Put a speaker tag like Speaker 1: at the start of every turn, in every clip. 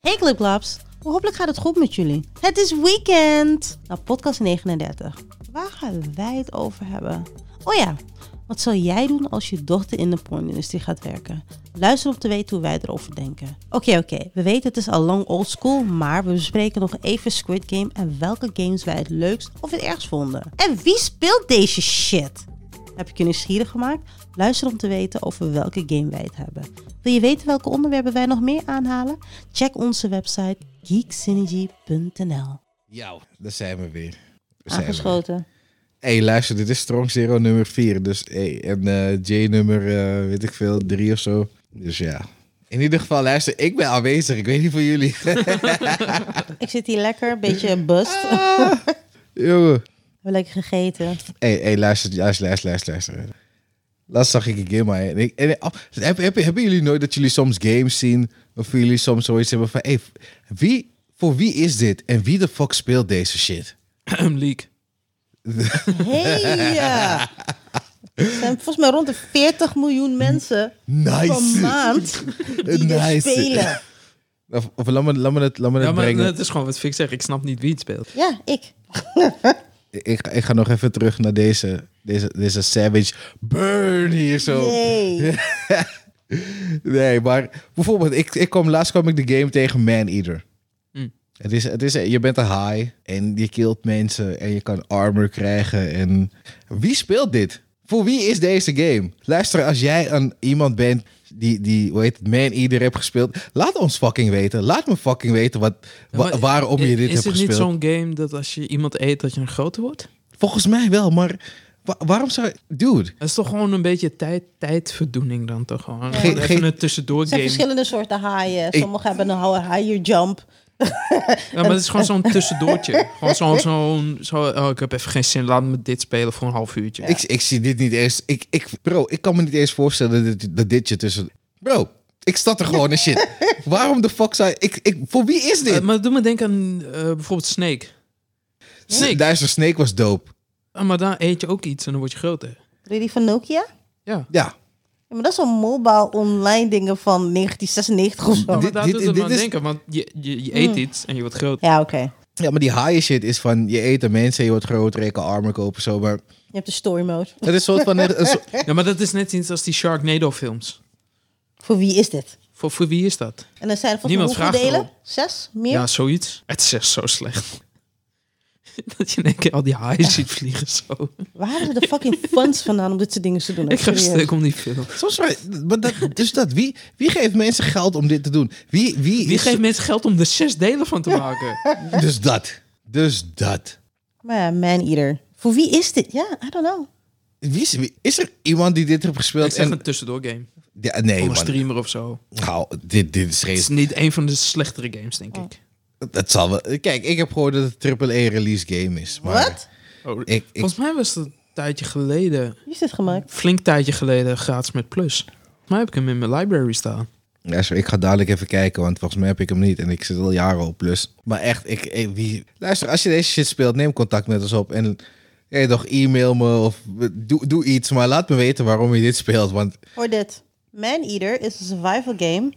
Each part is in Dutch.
Speaker 1: Hey Glipglaps, hopelijk gaat het goed met jullie. Het is weekend! Nou, podcast 39. Waar gaan wij het over hebben? Oh ja, wat zal jij doen als je dochter in de pornindustrie gaat werken? Luister om te weten hoe wij erover denken. Oké, oké, we weten het is al lang old school, maar we bespreken nog even Squid Game en welke games wij het leukst of het ergst vonden. En wie speelt deze shit? Heb ik je nieuwsgierig gemaakt? Luister om te weten over welke game wij het hebben. Wil je weten welke onderwerpen wij nog meer aanhalen? Check onze website geeksynergy.nl.
Speaker 2: Ja, daar zijn we weer. Daar zijn we weer.
Speaker 1: Aangeschoten.
Speaker 2: hey, luister, dit is Strong Zero nummer 4. Dus hey, en eh, J nummer, eh, weet ik veel, 3 of zo. Dus ja. In ieder geval, luister, ik ben aanwezig. Ik weet niet voor jullie.
Speaker 1: Ik zit hier lekker, een beetje bust. We
Speaker 2: Jongen.
Speaker 1: hebben lekker gegeten.
Speaker 2: hey, hey, luister, luister, luister, luister, luister. Laatst zag ik een game, maar en ik, en, oh, heb, heb, hebben jullie nooit dat jullie soms games zien? Of jullie soms zoiets hebben van, hey, wie, voor wie is dit? En wie de fuck speelt deze shit?
Speaker 3: leak.
Speaker 1: Hey! eh. Er zijn volgens mij rond de 40 miljoen mensen per
Speaker 2: Nice.
Speaker 1: maand die dit
Speaker 2: Nice.
Speaker 1: spelen.
Speaker 2: Of, of laat me, laat me het, laat me
Speaker 3: Ja,
Speaker 2: het
Speaker 3: maar
Speaker 2: brengen.
Speaker 3: het is gewoon wat Fik zegt. Ik snap niet wie het speelt.
Speaker 1: Ja, ik.
Speaker 2: Ik, ik ga nog even terug naar deze, deze, deze Savage Burn hier zo.
Speaker 1: Nee.
Speaker 2: Nee, maar bijvoorbeeld, ik, ik kwam, laatst kwam ik de game tegen Man Eater.
Speaker 3: Hm.
Speaker 2: Het is, het is, je bent een high en je killt mensen en je kan armor krijgen. En wie speelt dit? Voor wie is deze game? Luister, als jij een, iemand bent die, die hoe heet het, Man Eater hebt gespeeld, laat ons fucking weten. Laat me fucking weten wat, wa-
Speaker 3: Maar
Speaker 2: waarom
Speaker 3: i-
Speaker 2: je dit hebt
Speaker 3: Is het
Speaker 2: gespeeld.
Speaker 3: niet zo'n game dat als je iemand eet dat je een groter wordt?
Speaker 2: Volgens mij wel, maar wa- waarom zou... Dude,
Speaker 3: Dat is toch gewoon een beetje tijd, tijdverdoening dan toch gewoon.
Speaker 2: Geen-
Speaker 3: Even
Speaker 2: geen-
Speaker 3: een tussendoor
Speaker 1: Er zijn
Speaker 3: game.
Speaker 1: verschillende soorten haaien. Sommigen hebben een higher jump.
Speaker 3: Ja, maar het is gewoon zo'n tussendoortje. gewoon zo'n, zo'n, zo, oh, ik heb even geen zin, laat me dit spelen voor een half uurtje.
Speaker 2: Ik, ik zie dit niet eens. Ik, ik, bro, ik kan me niet eens voorstellen dat, dit- dat dit je tussen. Bro, ik sta er gewoon en shit. Waarom de fuck zou ik, ik. Voor wie is
Speaker 3: Eh,
Speaker 2: dit?
Speaker 3: maar doe me denken aan eh, bijvoorbeeld Snake. Snake.
Speaker 2: Duister Snake was dope.
Speaker 3: Ah, maar daar eet je ook iets en dan word je groter.
Speaker 1: Weet je die van Nokia?
Speaker 3: Ja.
Speaker 2: Ja.
Speaker 1: Ja, maar dat is zo'n mobile online dingen van 1996 of
Speaker 3: Ja,
Speaker 1: zo.
Speaker 3: maar
Speaker 2: Dit-
Speaker 3: daar
Speaker 2: dit-
Speaker 3: doet het
Speaker 2: dit
Speaker 3: me aan
Speaker 2: is-
Speaker 3: denken, want je, je, je eet iets en je wordt groter.
Speaker 1: Ja, oké.
Speaker 2: ja, maar die haaien shit is van je eet een mens en je wordt groter, je kan armen kopen zo. Maar
Speaker 1: Je hebt de story mode.
Speaker 2: het is een soort van. een soort-
Speaker 3: Ja, maar dat is net iets als die Sharknado films.
Speaker 1: Voor wie is dit?
Speaker 3: Voor, voor wie is dat?
Speaker 1: En dan zijn er volgens mij
Speaker 3: Niemand
Speaker 1: hoeveel
Speaker 3: vraagt
Speaker 1: delen?
Speaker 3: erop.
Speaker 1: Zes? Meer?
Speaker 3: Ja, zoiets. Het is echt zo slecht. dat je in één keer al die haaien ziet vliegen zo.
Speaker 1: Waar hebben ze de fucking funds vandaan om dit soort dingen te doen?
Speaker 3: Ik ga
Speaker 1: Serieus.
Speaker 3: stuk om die film.
Speaker 2: soms maar, maar dat, dus dat, wie, wie geeft mensen geld om dit te doen? Wie, wie,
Speaker 3: Wie
Speaker 2: is-
Speaker 3: geeft mensen geld om er zes delen van te maken?
Speaker 2: Dus dat. Dus dat.
Speaker 1: Maar ja, man-eater. Voor wie is dit? Ja, I don't know.
Speaker 2: Wie is, wie- is er iemand die dit heeft
Speaker 3: Ik
Speaker 2: gespeeld?
Speaker 3: zeg
Speaker 2: En,
Speaker 3: een tussendoor game.
Speaker 2: ja, nee,
Speaker 3: Van een
Speaker 2: man.
Speaker 3: streamer of zo.
Speaker 2: Gauw, dit, dit is
Speaker 3: Het
Speaker 2: geen
Speaker 3: is niet een van de slechtere games, denk ik.
Speaker 2: Dat zal wel. Kijk, ik heb gehoord dat het AAA release game is. Maar
Speaker 1: Wat?
Speaker 3: Oh,
Speaker 2: Ik, ik,
Speaker 3: Volgens mij was dat een tijdje geleden,
Speaker 1: Wie is dit gemaakt?
Speaker 3: flink tijdje geleden, gratis met Plus. Volgens mij heb ik hem in mijn library staan.
Speaker 2: ja, sorry, ik ga dadelijk even kijken, want volgens mij heb ik hem niet. En ik zit al jaren op plus. Maar echt, ik, ik- wie, luister, als je deze shit speelt, neem contact met ons op. En hey, toch, e-mail me of doe, doe iets. Maar laat me weten waarom je dit speelt. Want
Speaker 1: Hoor dit. Man-eater is een survival game.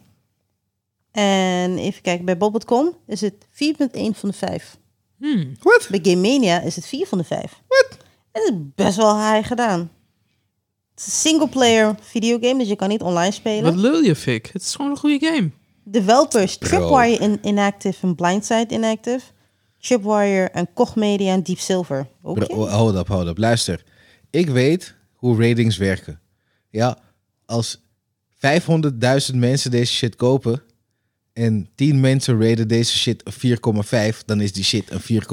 Speaker 1: En even kijken, bij Bob.com is het 4.1 van de 5.
Speaker 3: Hmm.
Speaker 2: wat?
Speaker 1: Bij Game Mania is het 4 van de 5. Wat? Het is best wel high gedaan. Het is een single-player videogame, dus je kan niet online spelen.
Speaker 3: Wat lul je, Fik? Het is gewoon een goede game.
Speaker 1: Developers
Speaker 2: Bro.
Speaker 1: Tripwire in Inactive en Blindside Inactive. Tripwire en Koch Media en Deep Silver. Oké.
Speaker 2: Bro, ho- hold up, hold up. Luister, ik weet hoe ratings werken. Ja, als 500.000 mensen deze shit kopen en 10 mensen raden deze shit een 4,5, dan is die shit een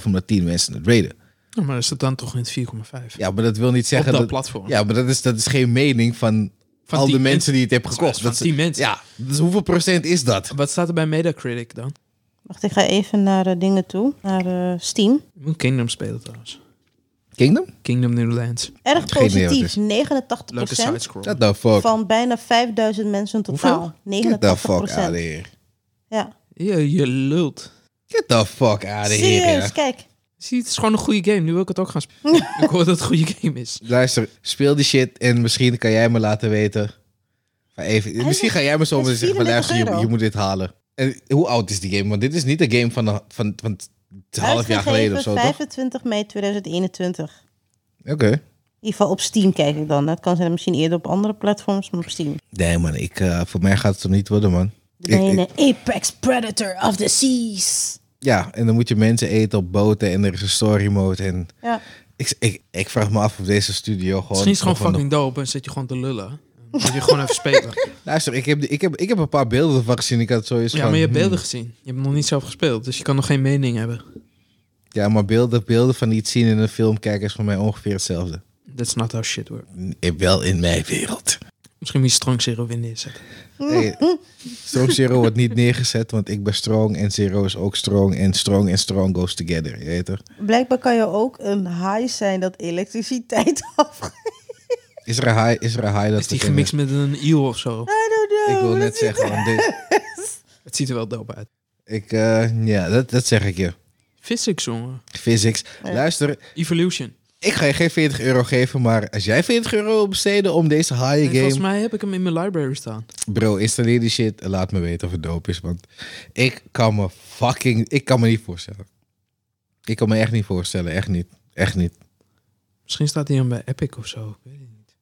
Speaker 2: 4,5 omdat 10 mensen het raden.
Speaker 3: Ja, maar is dat dan toch in het 4,5?
Speaker 2: Ja, maar dat wil niet zeggen
Speaker 3: Op dat
Speaker 2: dat
Speaker 3: platform.
Speaker 2: Ja, maar dat is, dat is geen mening van,
Speaker 3: Van
Speaker 2: al de
Speaker 3: 10
Speaker 2: mensen die het hebben
Speaker 3: Van-
Speaker 2: gekocht.
Speaker 3: van
Speaker 2: Dat is-
Speaker 3: 10 mensen.
Speaker 2: Ja, dus hoeveel procent is dat?
Speaker 3: Wat staat er bij Metacritic dan?
Speaker 1: Wacht, ik ga even naar de dingen toe. Naar eh, Steam.
Speaker 3: Je moet Kingdom spelen trouwens.
Speaker 2: Kingdom?
Speaker 3: Kingdom New Lands.
Speaker 1: Erg
Speaker 2: Geen idee wat
Speaker 1: positief.
Speaker 3: Leuke
Speaker 1: 89%
Speaker 3: sidescroll.
Speaker 2: What the fuck?
Speaker 1: van bijna 5000 mensen in totaal.
Speaker 3: Hoeveel?
Speaker 1: 89%.
Speaker 2: Get the fuck out of here.
Speaker 1: Ja.
Speaker 3: Je, je lult.
Speaker 2: Get the fuck out of here. ja.
Speaker 1: Serieus, kijk.
Speaker 3: Zie, je, het is gewoon een goede game. Nu wil ik het ook gaan spelen. ik hoor dat het een goede game is.
Speaker 2: Luister, speel die shit en misschien kan jij me laten weten. Maar even, misschien
Speaker 1: zegt-
Speaker 2: ga jij me zo
Speaker 1: het is
Speaker 2: meteen zeggen van luister,
Speaker 1: 34
Speaker 2: je,
Speaker 1: euro.
Speaker 2: je moet dit halen. En hoe oud is die game? Want dit is niet de game van, de, van, van het half jaar geleden of zo, toch?
Speaker 1: 25 mei 2021.
Speaker 2: Oké.
Speaker 1: In ieder geval op Steam kijk ik dan. Het kan zijn misschien eerder op andere platforms, maar op Steam.
Speaker 2: Nee, man. Ik, eh, voor mij gaat het er niet worden, man.
Speaker 1: Dan ben
Speaker 2: Ik-
Speaker 1: je
Speaker 2: ik-
Speaker 1: een apex predator of the seas.
Speaker 2: ja, en dan moet je mensen eten op boten en er is een story mode. En
Speaker 1: Ja.
Speaker 2: ik, ik, ik vraag me af of deze studio gewoon...
Speaker 3: Misschien is het gewoon
Speaker 2: gewoon-
Speaker 3: fucking dope en zit je gewoon te lullen. Dan Moet je gewoon even spelen.
Speaker 2: Luister, ik heb, ik, heb, ik heb een paar beelden van gezien. Ik had sowieso
Speaker 3: Ja,
Speaker 2: van,
Speaker 3: maar je hebt
Speaker 2: hmm.
Speaker 3: beelden gezien. Je hebt hem nog niet zelf gespeeld, dus je kan nog geen mening hebben.
Speaker 2: Ja, maar beelden, beelden van iets zien in een film kijken is voor mij ongeveer hetzelfde.
Speaker 3: That's not how shit works.
Speaker 2: Ik- Wel in mijn wereld.
Speaker 3: Misschien moet je strong zero weer neerzetten.
Speaker 2: Hey, strong Zero wordt niet neergezet, want ik ben strong en Zero is ook strong. En strong en strong goes together, je weet toch?
Speaker 1: Blijkbaar kan je ook een high zijn dat elektriciteit afgaat.
Speaker 2: Is er een high, is er een high dat
Speaker 3: Is die
Speaker 2: we kennen?
Speaker 3: gemixt Oh, met een iel of zo?
Speaker 1: I don't know.
Speaker 2: Ik wil
Speaker 1: maar
Speaker 2: net
Speaker 1: dat is-
Speaker 2: zeggen, want dit,
Speaker 3: Het ziet er wel dope uit.
Speaker 2: ik, eh, ja, dat, dat zeg ik je.
Speaker 3: Physics, jongen.
Speaker 2: Physics. Luister,
Speaker 3: Evolution.
Speaker 2: ik ga je geen 40 euro geven, maar als jij 40 euro wil besteden om deze high
Speaker 3: Nee,
Speaker 2: game...
Speaker 3: volgens mij heb ik hem in mijn library staan.
Speaker 2: Bro, installeer die shit en laat me weten of het dope is. Want ik kan me fucking... Ik kan me niet voorstellen. Ik kan me echt niet voorstellen. Echt niet. Echt niet.
Speaker 3: Misschien staat hij dan bij Epic of zo. Ik weet het niet.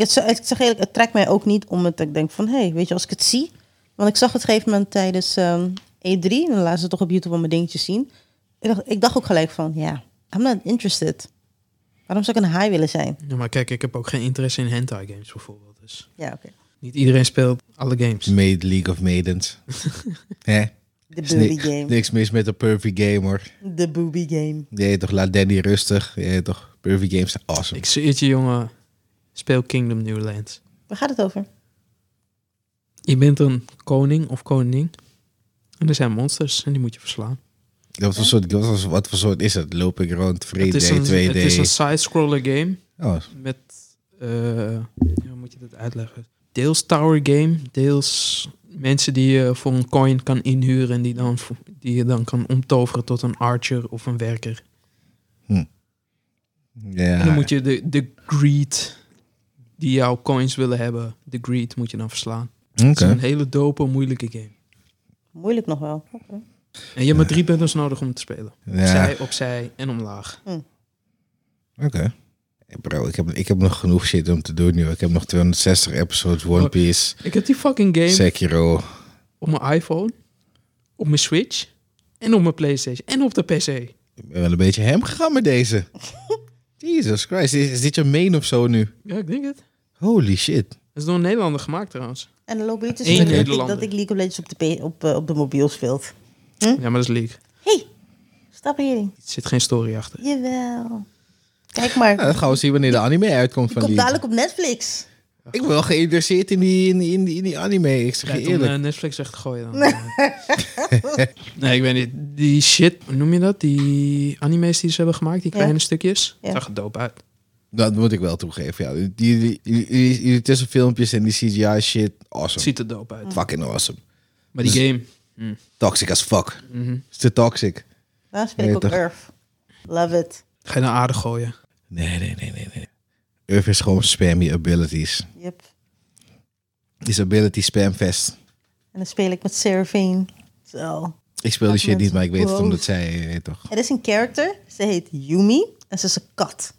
Speaker 1: Ik, het, ik zeg eerlijk, het trekt mij ook niet om het. Ik denk van, hé, hey, weet je, als ik het zie. Want ik zag het op een gegeven moment tijdens ehm, E3. En dan laten ze toch op YouTube al mijn dingetjes zien. Ik dacht, ik dacht ook gelijk van, ja, I'm not interested. Waarom zou ik een high willen zijn?
Speaker 3: Ja, maar kijk, ik heb ook geen interesse in hentai games bijvoorbeeld. Dus
Speaker 1: Ja, oké.
Speaker 3: niet iedereen speelt alle games.
Speaker 2: Made League of Maidens. Hè?
Speaker 1: De
Speaker 2: Is
Speaker 1: booby
Speaker 2: ni-
Speaker 1: game.
Speaker 2: Niks mis met de Pervy Game, hoor.
Speaker 1: De booby game.
Speaker 2: Nee, toch, laat Danny rustig. Nee, toch, Pervy Games zijn awesome.
Speaker 3: Ik zie het je, jongen. Speel Kingdom New Lands.
Speaker 1: Waar gaat het over?
Speaker 3: Je bent een koning of koning. En er zijn monsters en die moet je verslaan.
Speaker 2: Wat, voor soort, wat, voor, wat voor soort is het? Loop ik rond? 3D,
Speaker 3: het is een,
Speaker 2: 2D?
Speaker 3: het is een side-scroller game
Speaker 2: Oh,
Speaker 3: met... eh, ja, hoe moet je dat uitleggen? Deels tower game, deels mensen die je voor een coin kan inhuren... en die, dan, vo- die je dan kan omtoveren tot een archer of een werker. En
Speaker 2: ja.
Speaker 3: dan moet je de, de greed die jouw coins willen hebben... de greed moet je dan verslaan. Het
Speaker 2: Oké.
Speaker 3: is een hele dope, moeilijke game.
Speaker 1: Moeilijk nog wel. Oké.
Speaker 3: En je hebt maar drie bundles nodig om te spelen.
Speaker 2: Ja,
Speaker 3: Zij, opzij en omlaag.
Speaker 2: oké. Hey, Bro, ik heb, ik heb nog genoeg shit om te doen nu. Ik heb nog 260 episodes One
Speaker 3: Oh.
Speaker 2: Piece,
Speaker 3: Ik heb die fucking game
Speaker 2: Sekiro.
Speaker 3: op mijn iPhone, op mijn Switch en op mijn PlayStation en op de PC.
Speaker 2: Ik ben wel een beetje hem gegaan met deze. Jesus Christ, is, is dit je main of zo nu?
Speaker 3: Ja, ik denk het.
Speaker 2: Holy shit.
Speaker 3: Dat is door een Nederlander gemaakt trouwens.
Speaker 1: En dan lopen liedjes
Speaker 3: Eén
Speaker 1: dat ik,
Speaker 3: Nederlander.
Speaker 1: dat ik League of Legends op de, P- op, eh, op de mobiel speelt.
Speaker 3: Ja, maar dat is leak.
Speaker 1: hey, stap hierin.
Speaker 3: Er zit geen story achter.
Speaker 1: Jawel. Kijk maar.
Speaker 2: Nou, dat gaan we zien wanneer de anime uitkomt
Speaker 1: Die
Speaker 2: van
Speaker 1: komt
Speaker 2: die.
Speaker 1: dadelijk op Netflix.
Speaker 2: Ik ben wel geïnteresseerd in die, in, die- in, die- in die anime, ik zeg
Speaker 3: Kijk,
Speaker 2: je
Speaker 3: om
Speaker 2: eerlijk.
Speaker 3: eh, Netflix weg te gooien dan. nee, ik weet niet. Die shit, hoe noem je dat? Die anime's die ze hebben gemaakt, die
Speaker 1: Ja.
Speaker 3: kleine stukjes.
Speaker 1: Ja.
Speaker 3: Zag er dope uit.
Speaker 2: Dat moet ik wel toegeven, ja. Die, die, die, die, die- die tussenfilmpjes en die CGI shit, awesome.
Speaker 3: Ziet er dope uit.
Speaker 2: Fucking awesome.
Speaker 3: Maar die
Speaker 2: Dus-
Speaker 3: game...
Speaker 2: Toxic as fuck.
Speaker 3: mhm.
Speaker 2: Is te toxic.
Speaker 1: Daar speel ik
Speaker 2: Nee,
Speaker 1: ook
Speaker 2: toch?
Speaker 1: Earth. Love it.
Speaker 3: Ga je naar aarde gooien.
Speaker 2: Nee, nee, nee, nee, nee. Earth is gewoon spam je abilities.
Speaker 1: Yep.
Speaker 2: Is ability spamfest.
Speaker 1: En dan speel ik met Seraphine. Zo.
Speaker 2: Ik speel die
Speaker 1: Dat
Speaker 2: shit niet, maar ik weet het
Speaker 1: mensen-
Speaker 2: omdat zij, je weet toch.
Speaker 1: Er is een character. Ze heet Yumi. En ze is een kat.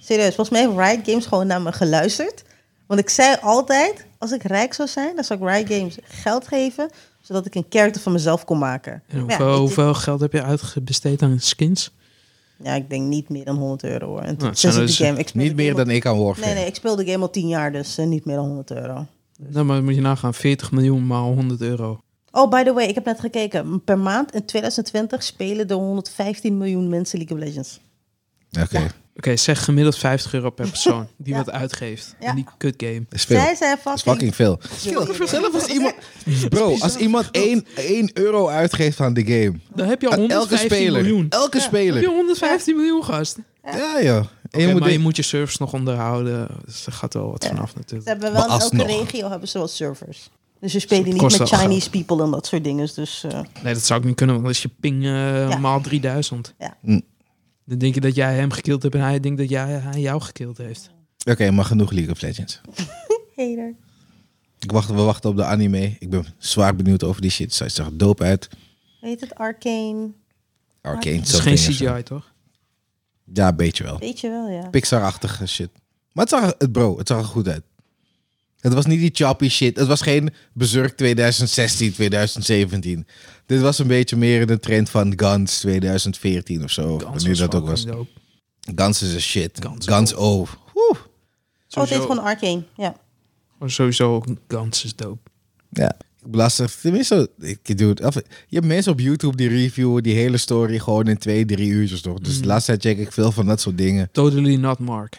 Speaker 1: Serieus. Volgens mij heeft Riot Games gewoon naar me geluisterd. Want ik zei altijd, als ik rijk zou zijn, dan zou ik Riot Games geld geven. Zodat ik een character van mezelf kon maken.
Speaker 3: En
Speaker 1: Maar ja,
Speaker 3: hoeveel,
Speaker 1: weet je-
Speaker 3: hoeveel geld heb je uitgebesteed aan skins?
Speaker 1: Ja, ik denk niet meer dan 100 euro hoor. En
Speaker 3: Nou,
Speaker 1: toen zit
Speaker 3: zijn
Speaker 1: ik
Speaker 3: dus
Speaker 1: de game. Ik speel
Speaker 2: Niet
Speaker 1: de
Speaker 2: meer
Speaker 1: game al-
Speaker 2: dan ik aan Warfare.
Speaker 1: Nee, nee, ik speel de game al 10 jaar, dus eh, niet meer dan 100 euro.
Speaker 3: Nou, maar moet je nagaan. 40 miljoen maal 100 euro.
Speaker 1: Oh, by the way, ik heb net gekeken. Per maand in 2020 spelen er 115 miljoen mensen League of Legends.
Speaker 2: Oké.
Speaker 3: Oké, zeg gemiddeld 50 euro per persoon die
Speaker 1: Ja.
Speaker 3: wat uitgeeft.
Speaker 1: Ja.
Speaker 3: In die kut game.
Speaker 2: Dat is veel.
Speaker 1: Zij zijn
Speaker 2: Dat is
Speaker 1: fucking...
Speaker 2: fucking veel.
Speaker 1: Fucking veel.
Speaker 2: Zelf als iemand... Bro, als iemand 1 euro uitgeeft aan de game.
Speaker 3: Dan heb je al
Speaker 2: Aan Ah, Eh, elke
Speaker 3: 115
Speaker 2: speler.
Speaker 3: miljoen.
Speaker 2: Elke
Speaker 3: Heb je
Speaker 2: speler.
Speaker 3: 115 miljoen gast. Oké,
Speaker 2: Ja, joh. En je
Speaker 3: maar
Speaker 2: moet
Speaker 3: je
Speaker 2: denken-
Speaker 3: moet je servers nog onderhouden. Dus er gaat wel wat vanaf
Speaker 1: Ze
Speaker 3: natuurlijk.
Speaker 1: hebben wel in
Speaker 2: Maar
Speaker 1: elke
Speaker 2: alsnog.
Speaker 1: regio hebben ze wel servers. Dus ze spelen niet
Speaker 3: kost
Speaker 1: met
Speaker 3: wel
Speaker 1: Chinese people en dat soort dingen. Dus eh,
Speaker 3: Nee, dat zou ik niet kunnen, want als je ping eh,
Speaker 1: Ja.
Speaker 3: maal 3000.
Speaker 1: Ja.
Speaker 2: Hm.
Speaker 3: Dan denk je dat jij hem gekild hebt en hij denkt dat jij, hij jou gekild heeft.
Speaker 2: Oké, maar genoeg League of Legends.
Speaker 1: hater.
Speaker 2: Ik wacht, we wachten op de anime. Ik ben zwaar benieuwd over die shit. Zij zag er dope uit.
Speaker 1: Weet het, Arcane?
Speaker 2: Arcane.
Speaker 1: Het
Speaker 3: Het is
Speaker 2: something
Speaker 3: geen
Speaker 2: of zo.
Speaker 3: CGI, toch?
Speaker 2: Ja, een beetje wel.
Speaker 1: Weet je wel, ja.
Speaker 2: Pixar-achtige shit. Maar het zag, het bro, het zag er goed uit. Het was niet die choppy shit. Het was geen Berserk 2016, 2017. Dit was een beetje meer in de trend van Guns 2014 of zo.
Speaker 3: Guns
Speaker 2: wanneer dat ook
Speaker 3: fucking
Speaker 2: was.
Speaker 3: dope.
Speaker 2: Guns is een shit.
Speaker 3: Guns
Speaker 2: Guns, oh. Woe.
Speaker 1: Oh, het
Speaker 3: Sowieso,
Speaker 1: heet gewoon Arcane, ja.
Speaker 3: sowieso ook Guns is dope.
Speaker 2: Ja. Lastig. Tenminste, ik doe het. af- Je hebt mensen op YouTube die reviewen die hele story gewoon in twee, drie uurtjes toch?
Speaker 3: Mm.
Speaker 2: Dus de laatste tijd check ik veel van dat soort dingen.
Speaker 3: Totally not Mark.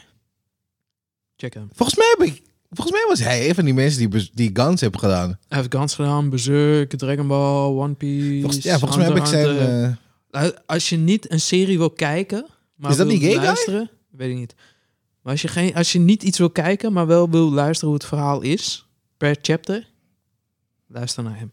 Speaker 3: Check hem.
Speaker 2: Volgens mij, heb ik, volgens mij was hij een van die mensen die, bes- die Guns heeft gedaan.
Speaker 3: Hij heeft Guns gedaan, Berserk, Dragon Ball, One Piece.
Speaker 2: Volgens, ja, volgens mij heb ik
Speaker 3: Hunter
Speaker 2: zijn.
Speaker 3: x Hunter.
Speaker 2: eh,
Speaker 3: Nou, Als je niet een serie wil kijken, maar
Speaker 2: Is dat
Speaker 3: wil
Speaker 2: die gay guy?
Speaker 3: luisteren, weet ik niet. Maar als je, geen, als je niet iets wil kijken, maar wel wil luisteren hoe het verhaal is, per chapter, luister naar hem.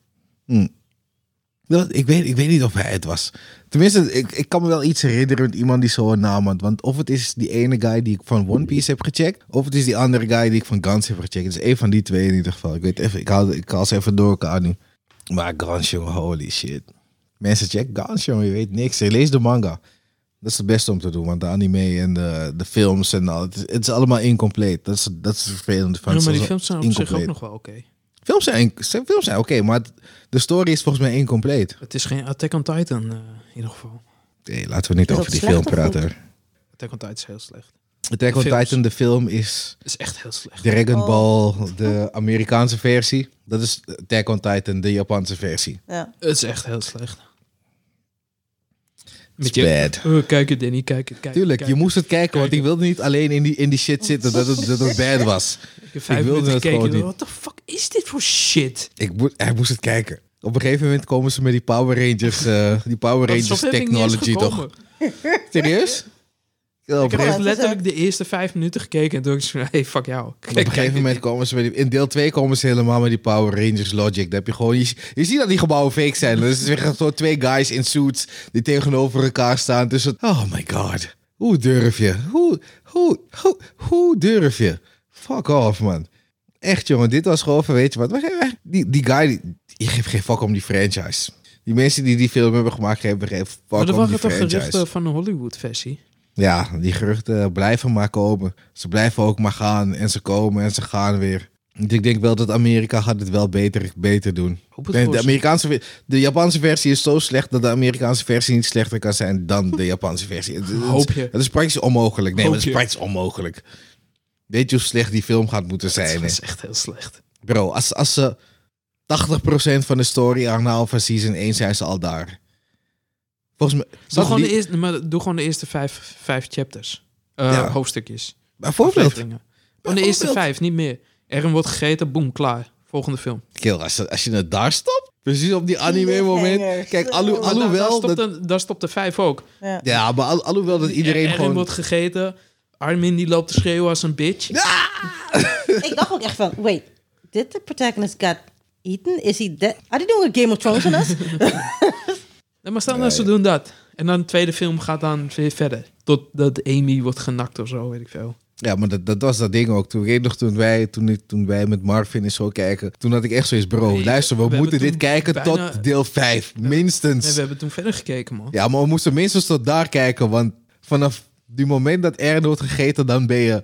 Speaker 2: Dat, ik, weet, ik weet niet of hij het was. Tenminste, ik, ik kan me wel iets herinneren met iemand die zo'n naam had. Want of het is die ene guy die ik van One Piece heb gecheckt. Of het is die andere guy die ik van Guns heb gecheckt. Het is één van die twee in ieder geval. Ik weet even, ik haal, ik haal ze even door elkaar nu. Maar Guns, jongen, holy shit. Mensen, check Guns, jongen, je weet niks. Lees de manga. Dat is het beste om te doen. Want de anime en de, de films en al. Het is, het is allemaal incompleet. Dat is, dat is het vervelende van
Speaker 3: Ja, maar die
Speaker 2: Zoals-
Speaker 3: films zijn op zich ook
Speaker 2: incompleet.
Speaker 3: nog wel oké.
Speaker 2: Films zijn, films zijn oké, maar het- de story is volgens mij incompleet.
Speaker 3: Het is geen Attack on Titan eh, in ieder geval.
Speaker 2: Nee, laten we niet
Speaker 1: Is
Speaker 2: over
Speaker 1: dat
Speaker 2: die film
Speaker 1: slecht of goed?
Speaker 2: praten.
Speaker 3: Attack on Titan is heel slecht.
Speaker 2: Attack on
Speaker 3: Films.
Speaker 2: Titan, de film, is
Speaker 3: Het is echt heel slecht.
Speaker 2: Dragon
Speaker 1: Oh.
Speaker 2: Ball, de Amerikaanse versie. Dat is Attack on Titan, de Japanse versie.
Speaker 1: ja.
Speaker 3: Het is echt heel slecht.
Speaker 2: It's
Speaker 3: Met je,
Speaker 2: bad.
Speaker 3: oh, kijk het Danny, kijk het, kijk het,
Speaker 2: Tuurlijk,
Speaker 3: kijk
Speaker 2: je
Speaker 3: het.
Speaker 2: moest het kijken, want
Speaker 3: Kijk.
Speaker 2: ik wilde niet alleen in die, in die shit zitten dat het, dat het bad was.
Speaker 3: Ik heb vijf
Speaker 2: ik wilde
Speaker 3: minuten
Speaker 2: het
Speaker 3: gekeken.
Speaker 2: gewoon
Speaker 3: Wat de fuck is dit voor shit?
Speaker 2: Ik moest, hij moest het kijken. Op een gegeven moment komen ze met die Power Rangers, eh, die Power
Speaker 3: Dat
Speaker 2: Rangers
Speaker 3: soort heb ik niet eens
Speaker 2: technology toch?
Speaker 3: gekomen.
Speaker 2: Serieus? Ja,
Speaker 3: Ik
Speaker 2: op,
Speaker 3: heb
Speaker 2: een
Speaker 1: Ja,
Speaker 3: echt
Speaker 2: gegeven,
Speaker 1: het is
Speaker 3: letterlijk de eerste vijf minuten gekeken en toen dacht ik zo, hey, fuck jou.
Speaker 2: op een gegeven moment komen ze met die, in deel 2 komen ze helemaal met die Power Rangers logic. Dan heb je gewoon, je, je ziet dat die gebouwen fake zijn. Dus het is weer zo twee guys in suits die tegenover elkaar staan. Dus het- oh my god, hoe durf je? Hoe, hoe, hoe, hoe durf je? Fuck off man. Echt jongen, dit was gewoon van weet je wat. we geven- Die, die guy, die, die geeft geen fuck om die franchise. Die mensen die die film hebben gemaakt, geven geen
Speaker 3: Maar
Speaker 2: fuck
Speaker 3: er
Speaker 2: om die
Speaker 3: waren toch
Speaker 2: franchise.
Speaker 3: geruchten van de Hollywood-versie?
Speaker 2: Ja, die geruchten blijven maar komen. Ze blijven ook maar gaan en ze komen en ze gaan weer. Want Ik denk wel dat Amerika gaat het wel beter, beter doen.
Speaker 3: Hoop het
Speaker 2: Nee,
Speaker 3: voor
Speaker 2: de,
Speaker 3: ze.
Speaker 2: Amerikaanse, ver- de Japanse versie is zo slecht dat de Amerikaanse versie niet slechter kan zijn dan de Japanse versie. Het, het-
Speaker 3: Hoop je.
Speaker 2: Het is praktisch onmogelijk. Nee,
Speaker 3: Hoop
Speaker 2: maar het is
Speaker 3: je.
Speaker 2: praktisch onmogelijk. Weet je hoe slecht die film gaat moeten zijn?
Speaker 3: Dat
Speaker 2: hè?
Speaker 3: is echt heel slecht.
Speaker 2: Bro, als, als ze 80% van de story aanhalen van season 1 zijn ze al daar. Volgens mij...
Speaker 3: Doe gewoon, de
Speaker 2: Lee-
Speaker 3: eerste, maar doe gewoon de eerste vijf, vijf chapters. Eh,
Speaker 2: Ja.
Speaker 3: Hoofdstukjes.
Speaker 2: Bijvoorbeeld,
Speaker 3: afleveringen. Gewoon de eerste
Speaker 2: Bijvoorbeeld.
Speaker 3: vijf, niet meer. Erin wordt gegeten, boem, klaar. Volgende film.
Speaker 2: Kill, als, je- als je het daar stopt, precies op die anime-moment.
Speaker 1: Cliffhanger.
Speaker 2: Kijk, alho-
Speaker 1: Maar daar-
Speaker 3: Maar daar- daar,
Speaker 2: alhoewel...
Speaker 3: stopt
Speaker 2: dat,
Speaker 3: de, daar stopt de vijf ook.
Speaker 1: ja.
Speaker 2: ja, maar al- alhoewel dat iedereen
Speaker 3: Erin
Speaker 2: gewoon...
Speaker 3: wordt gegeten. Armin die loopt te schreeuwen als een bitch.
Speaker 1: Ik dacht ook echt van, wait, did the protagonist got eaten? Is he dead? Are they doing a Game of Thrones on us?
Speaker 3: Nee, maar stel nou, ze doen dat. En dan de tweede film gaat dan weer verder. Totdat Amy wordt genakt of zo, weet ik veel.
Speaker 2: Ja, maar dat, dat was dat ding ook. Toen, ik weet nog, toen, wij, toen, ik- toen wij met Marvin en zo kijken, toen had ik echt zoiets... Bro,
Speaker 3: Nee,
Speaker 2: luister, we,
Speaker 3: we
Speaker 2: moeten
Speaker 3: hebben
Speaker 2: dit
Speaker 3: toen
Speaker 2: kijken
Speaker 3: bijna-
Speaker 2: tot deel 5,
Speaker 3: Nee,
Speaker 2: minstens.
Speaker 3: we hebben toen verder gekeken, man.
Speaker 2: Ja, maar we moesten minstens tot daar kijken, want vanaf die moment dat Aaron wordt gegeten, dan ben je...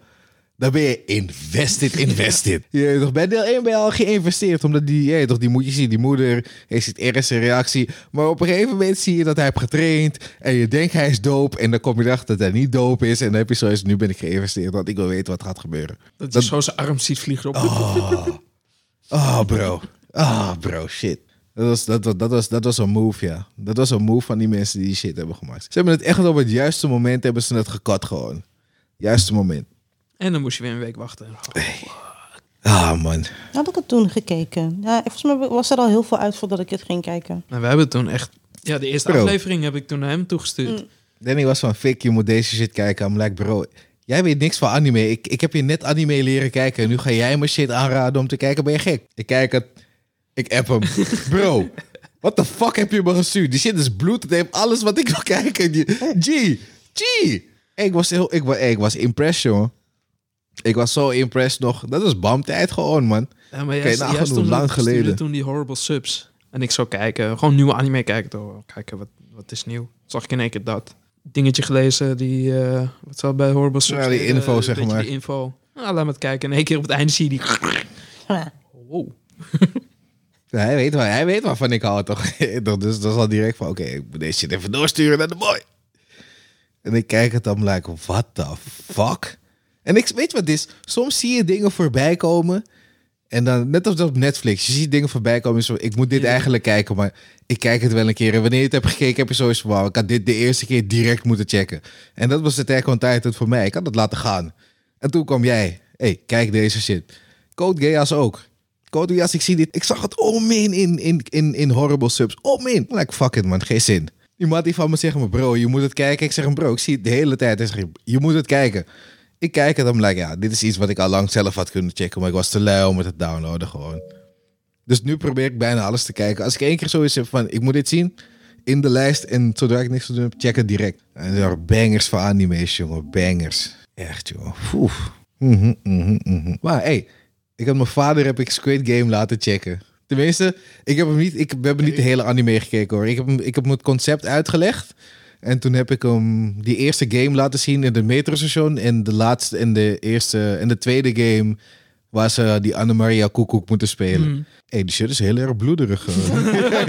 Speaker 2: Dan ben je invested, invested. Je weet toch, bij deel 1 ben je al geïnvesteerd. Omdat die, je weet toch, die moet je zien. Die moeder heeft ziet eerst een reactie. Maar op een gegeven moment zie je dat hij heeft getraind. En je denkt hij is doop. En dan kom je erachter dat hij niet doop is. En dan heb je zoiets, nu ben ik geïnvesteerd. Want ik wil weten wat gaat gebeuren.
Speaker 3: Dat je
Speaker 2: Dat- Oh.
Speaker 3: zo zijn arm ziet vliegen op.
Speaker 2: Ah, bro. Ah, bro, shit. Dat was, dat, was- dat, was, dat was een move, ja. Dat was een move van die mensen die die shit hebben gemaakt. Ze hebben het echt op het juiste moment hebben ze het gekat gewoon. Juiste moment.
Speaker 3: En dan moest je weer een week wachten.
Speaker 2: Ah, man.
Speaker 1: Had ik het toen gekeken? Ja, volgens mij was er al heel veel uit voordat ik het ging kijken.
Speaker 3: Nou, we hebben toen echt... Ja, de eerste
Speaker 2: Bro.
Speaker 3: aflevering heb ik toen naar hem toegestuurd.
Speaker 2: Danny was van, Fik, je moet deze shit kijken. I'm like, bro, jij weet niks van anime. Ik, ik heb je net anime leren kijken. En nu ga jij me shit aanraden om te kijken. Ben je gek? Ik kijk het. Ik app hem. Bro, what the fuck heb je me gestuurd? Die shit is bloed. Het heeft alles wat ik wil kijken. Die- G, G. Ik was, heel, ik, wa- ik was impressed, jongen. Ik was zo impressed nog. Dat is bamtijd gewoon, man.
Speaker 3: Ja, maar
Speaker 2: Oké,
Speaker 3: juist,
Speaker 2: nou,
Speaker 3: juist
Speaker 2: genoeg,
Speaker 3: toen,
Speaker 2: lang
Speaker 3: stuurde
Speaker 2: geleden.
Speaker 3: toen die horrible subs. En ik zou kijken, gewoon nieuwe anime kijken. Door, kijken, wat, wat is nieuw? Zag ik in één keer dat. Dingetje gelezen, die, eh, wat zou bij horrible subs?
Speaker 2: Ja, die
Speaker 3: deden?
Speaker 2: info,
Speaker 3: Een
Speaker 2: zeg
Speaker 3: beetje
Speaker 2: maar.
Speaker 3: Die info. Nou, laat me het kijken. En één keer op het einde zie je die... Oh, Wow.
Speaker 2: Ja, hij, weet waar, hij weet waarvan ik hou, toch? dus dat is al direct van, oké, ik moet deze shit even doorsturen naar de boy. En ik kijk het dan, like, what the fuck? En ik weet je wat het is. Soms zie je dingen voorbij komen. En dan, net als dat op Netflix, je ziet dingen voorbij komen. en Zo, ik moet dit
Speaker 3: Ja.
Speaker 2: eigenlijk kijken, maar ik kijk het wel een keer. En wanneer je het hebt gekeken, heb je sowieso van, wauw, ik had dit de eerste keer direct moeten checken. En dat was de Attack on Titan voor mij. Ik had het laten gaan. En toen kwam jij. hey, kijk deze shit. Code Geass ook. Code Geass, ik zie dit. Ik zag het om in, in, in, in, in horrible subs. Om in. Like, fuck it man, geen zin. Iemand die van me zegt, maar bro, je moet het kijken. Ik zeg hem, bro, ik zie het de hele tijd. Hij zegt, je moet het kijken. Ik kijk het, dan like, ja, dit is iets wat ik al lang zelf had kunnen checken. Maar ik was te lui om het te downloaden gewoon. Dus nu probeer ik bijna alles te kijken. Als ik één keer zoiets heb van, ik moet dit zien. In de lijst en zodra ik niks te doen heb, check het direct. En er waren bangers van anime's, jongen. Bangers. Echt, jongen. Oef. Mhm, mhm, mhm. Maar hey, ik had mijn vader heb ik Squid Game laten checken. Tenminste, ik heb hem niet, ik, we hebben niet de hele anime gekeken hoor. Ik heb, hem, ik heb hem het concept uitgelegd. En toen heb ik hem die eerste game laten zien in de metrostation. En de laatste en de eerste en de tweede game waar ze die Annemaria Koekoek moeten spelen.
Speaker 3: Hmm.
Speaker 2: Hé, die shit is heel erg bloederig. eh.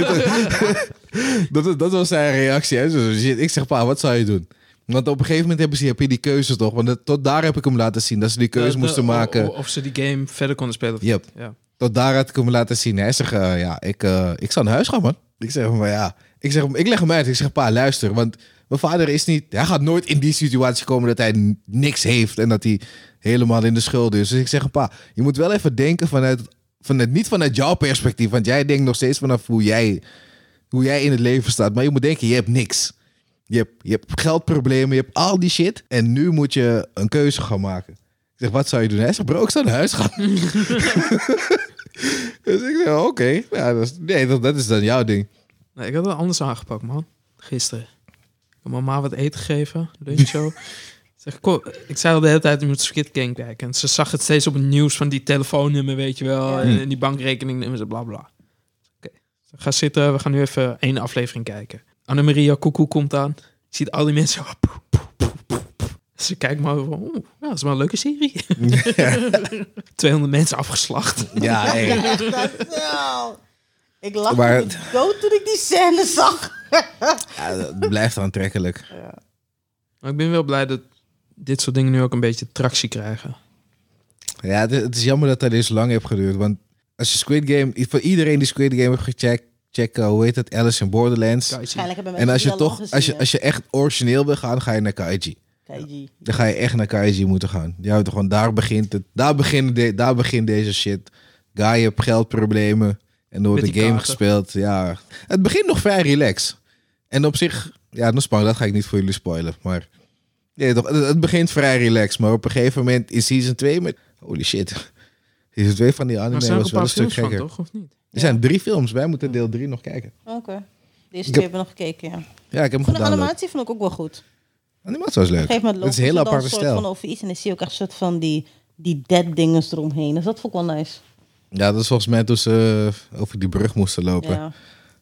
Speaker 2: dat, dat was zijn reactie. Hij zei, "Shit." Ik zeg, pa, wat zou je doen? Want op een gegeven moment hebben ze, heb je die keuze toch? Want dat- tot daar heb ik hem laten zien. Dat oh, ze die keuze
Speaker 3: Eh,
Speaker 2: moesten
Speaker 3: de- o-
Speaker 2: maken.
Speaker 3: o- Of, ze die game verder konden spelen.
Speaker 2: Yep.
Speaker 3: Ja.
Speaker 2: Tot daar had ik hem laten zien. Hij zegt, eh, ja, ik, eh, ik zal naar huis gaan, man. Ik zeg, maar ja. Ik, zeg, ik leg hem uit. Ik zeg, pa, luister. Want mijn vader is niet... Hij gaat nooit in die situatie komen dat hij n- niks heeft. En dat hij helemaal in de schuld is. Dus ik zeg, pa, je moet wel even denken vanuit... vanuit niet vanuit jouw perspectief. Want jij denkt nog steeds vanaf hoe jij, hoe jij in het leven staat. Maar je moet denken, je hebt niks. Je hebt, je hebt geldproblemen, je hebt al die shit. En nu moet je een keuze gaan maken. Ik zeg, wat zou je doen? Hij zegt, bro, ik zou naar huis gaan. Dus ik zeg, oké. Ja, dat is, nee, dat, dat is dan jouw ding.
Speaker 3: Nee, ik had het anders aangepakt, man. Gisteren. Ik heb mama wat eten gegeven, luncho. zeg, kom, ik zei al de hele tijd, je moet Squid Game kijken. En ze zag het steeds op het nieuws van die telefoonnummer, weet je wel.
Speaker 2: Hmm.
Speaker 3: En, en die bankrekeningnummers en bla bla. Oké, ga zitten, we gaan nu even één aflevering kijken. Annemaria Koekoe komt aan. Je ziet al die mensen. oh, poe, poe, poe, poe, poe. Ze kijkt maar van, oeh, nou, dat is wel een leuke serie. 200 mensen afgeslacht.
Speaker 2: Ja, hey.
Speaker 1: dat wel. Nou, Ik lachte
Speaker 2: Maar-
Speaker 1: me dood toen ik die scène zag.
Speaker 2: ja, dat blijft aantrekkelijk.
Speaker 3: Maar ik ben wel blij dat dit soort dingen nu ook een beetje tractie krijgen.
Speaker 2: Ja, het, het is jammer dat dat eens lang heeft geduurd. Want als je Squid Game... Voor iedereen die Squid Game heeft gecheckt... Check, eh, hoe heet het? Alice in Borderlands.
Speaker 3: Kaiji.
Speaker 1: Waarschijnlijk hebben mensen
Speaker 2: En als je
Speaker 1: die al
Speaker 2: toch...
Speaker 1: lang
Speaker 2: Als je,
Speaker 1: gezien,
Speaker 2: als je echt origineel wil gaan, ga je naar Kaiji.
Speaker 1: hè. Kaiji.
Speaker 2: Dan ga je echt naar Kaiji moeten gaan. Je houdt gewoon, daar begint het. Daar begint, de, daar begint deze shit. Guy hebt geldproblemen. En door
Speaker 3: Met
Speaker 2: de
Speaker 3: die
Speaker 2: game
Speaker 3: kaarten.
Speaker 2: gespeeld. Ja. Het begint nog vrij relaxed. En op zich, ja, dan spang, dat ga ik niet voor jullie spoilen. Maar nee, toch, het, het begint vrij relaxed. Maar op een gegeven moment in season 2 met. Holy shit. Season 2 van die
Speaker 3: Maar er
Speaker 2: anime
Speaker 3: zijn ook
Speaker 2: was
Speaker 3: een
Speaker 2: wel een stuk
Speaker 3: paar films van,
Speaker 2: gekker.
Speaker 3: toch? Of niet?
Speaker 2: Er zijn drie films. Wij moeten deel 3 nog kijken.
Speaker 1: Oké. Deze twee
Speaker 2: Ik heb-
Speaker 1: hebben we nog gekeken, ja.
Speaker 2: Ja, ik heb hem
Speaker 1: Van de
Speaker 2: gedaan.
Speaker 1: animatie vond ik ook wel goed.
Speaker 2: Animatie was leuk.
Speaker 1: Op een gegeven moment
Speaker 2: Het is
Speaker 1: lopen
Speaker 2: een hele
Speaker 1: ze dan
Speaker 2: aparte
Speaker 1: soort
Speaker 2: stijl.
Speaker 1: van over iets en dan zie je ook echt een soort van die, die dead dinges eromheen. Dus dat vond ik wel nice.
Speaker 2: Ja, dat is volgens mij toen ze eh, over die brug moesten lopen.
Speaker 1: Ja.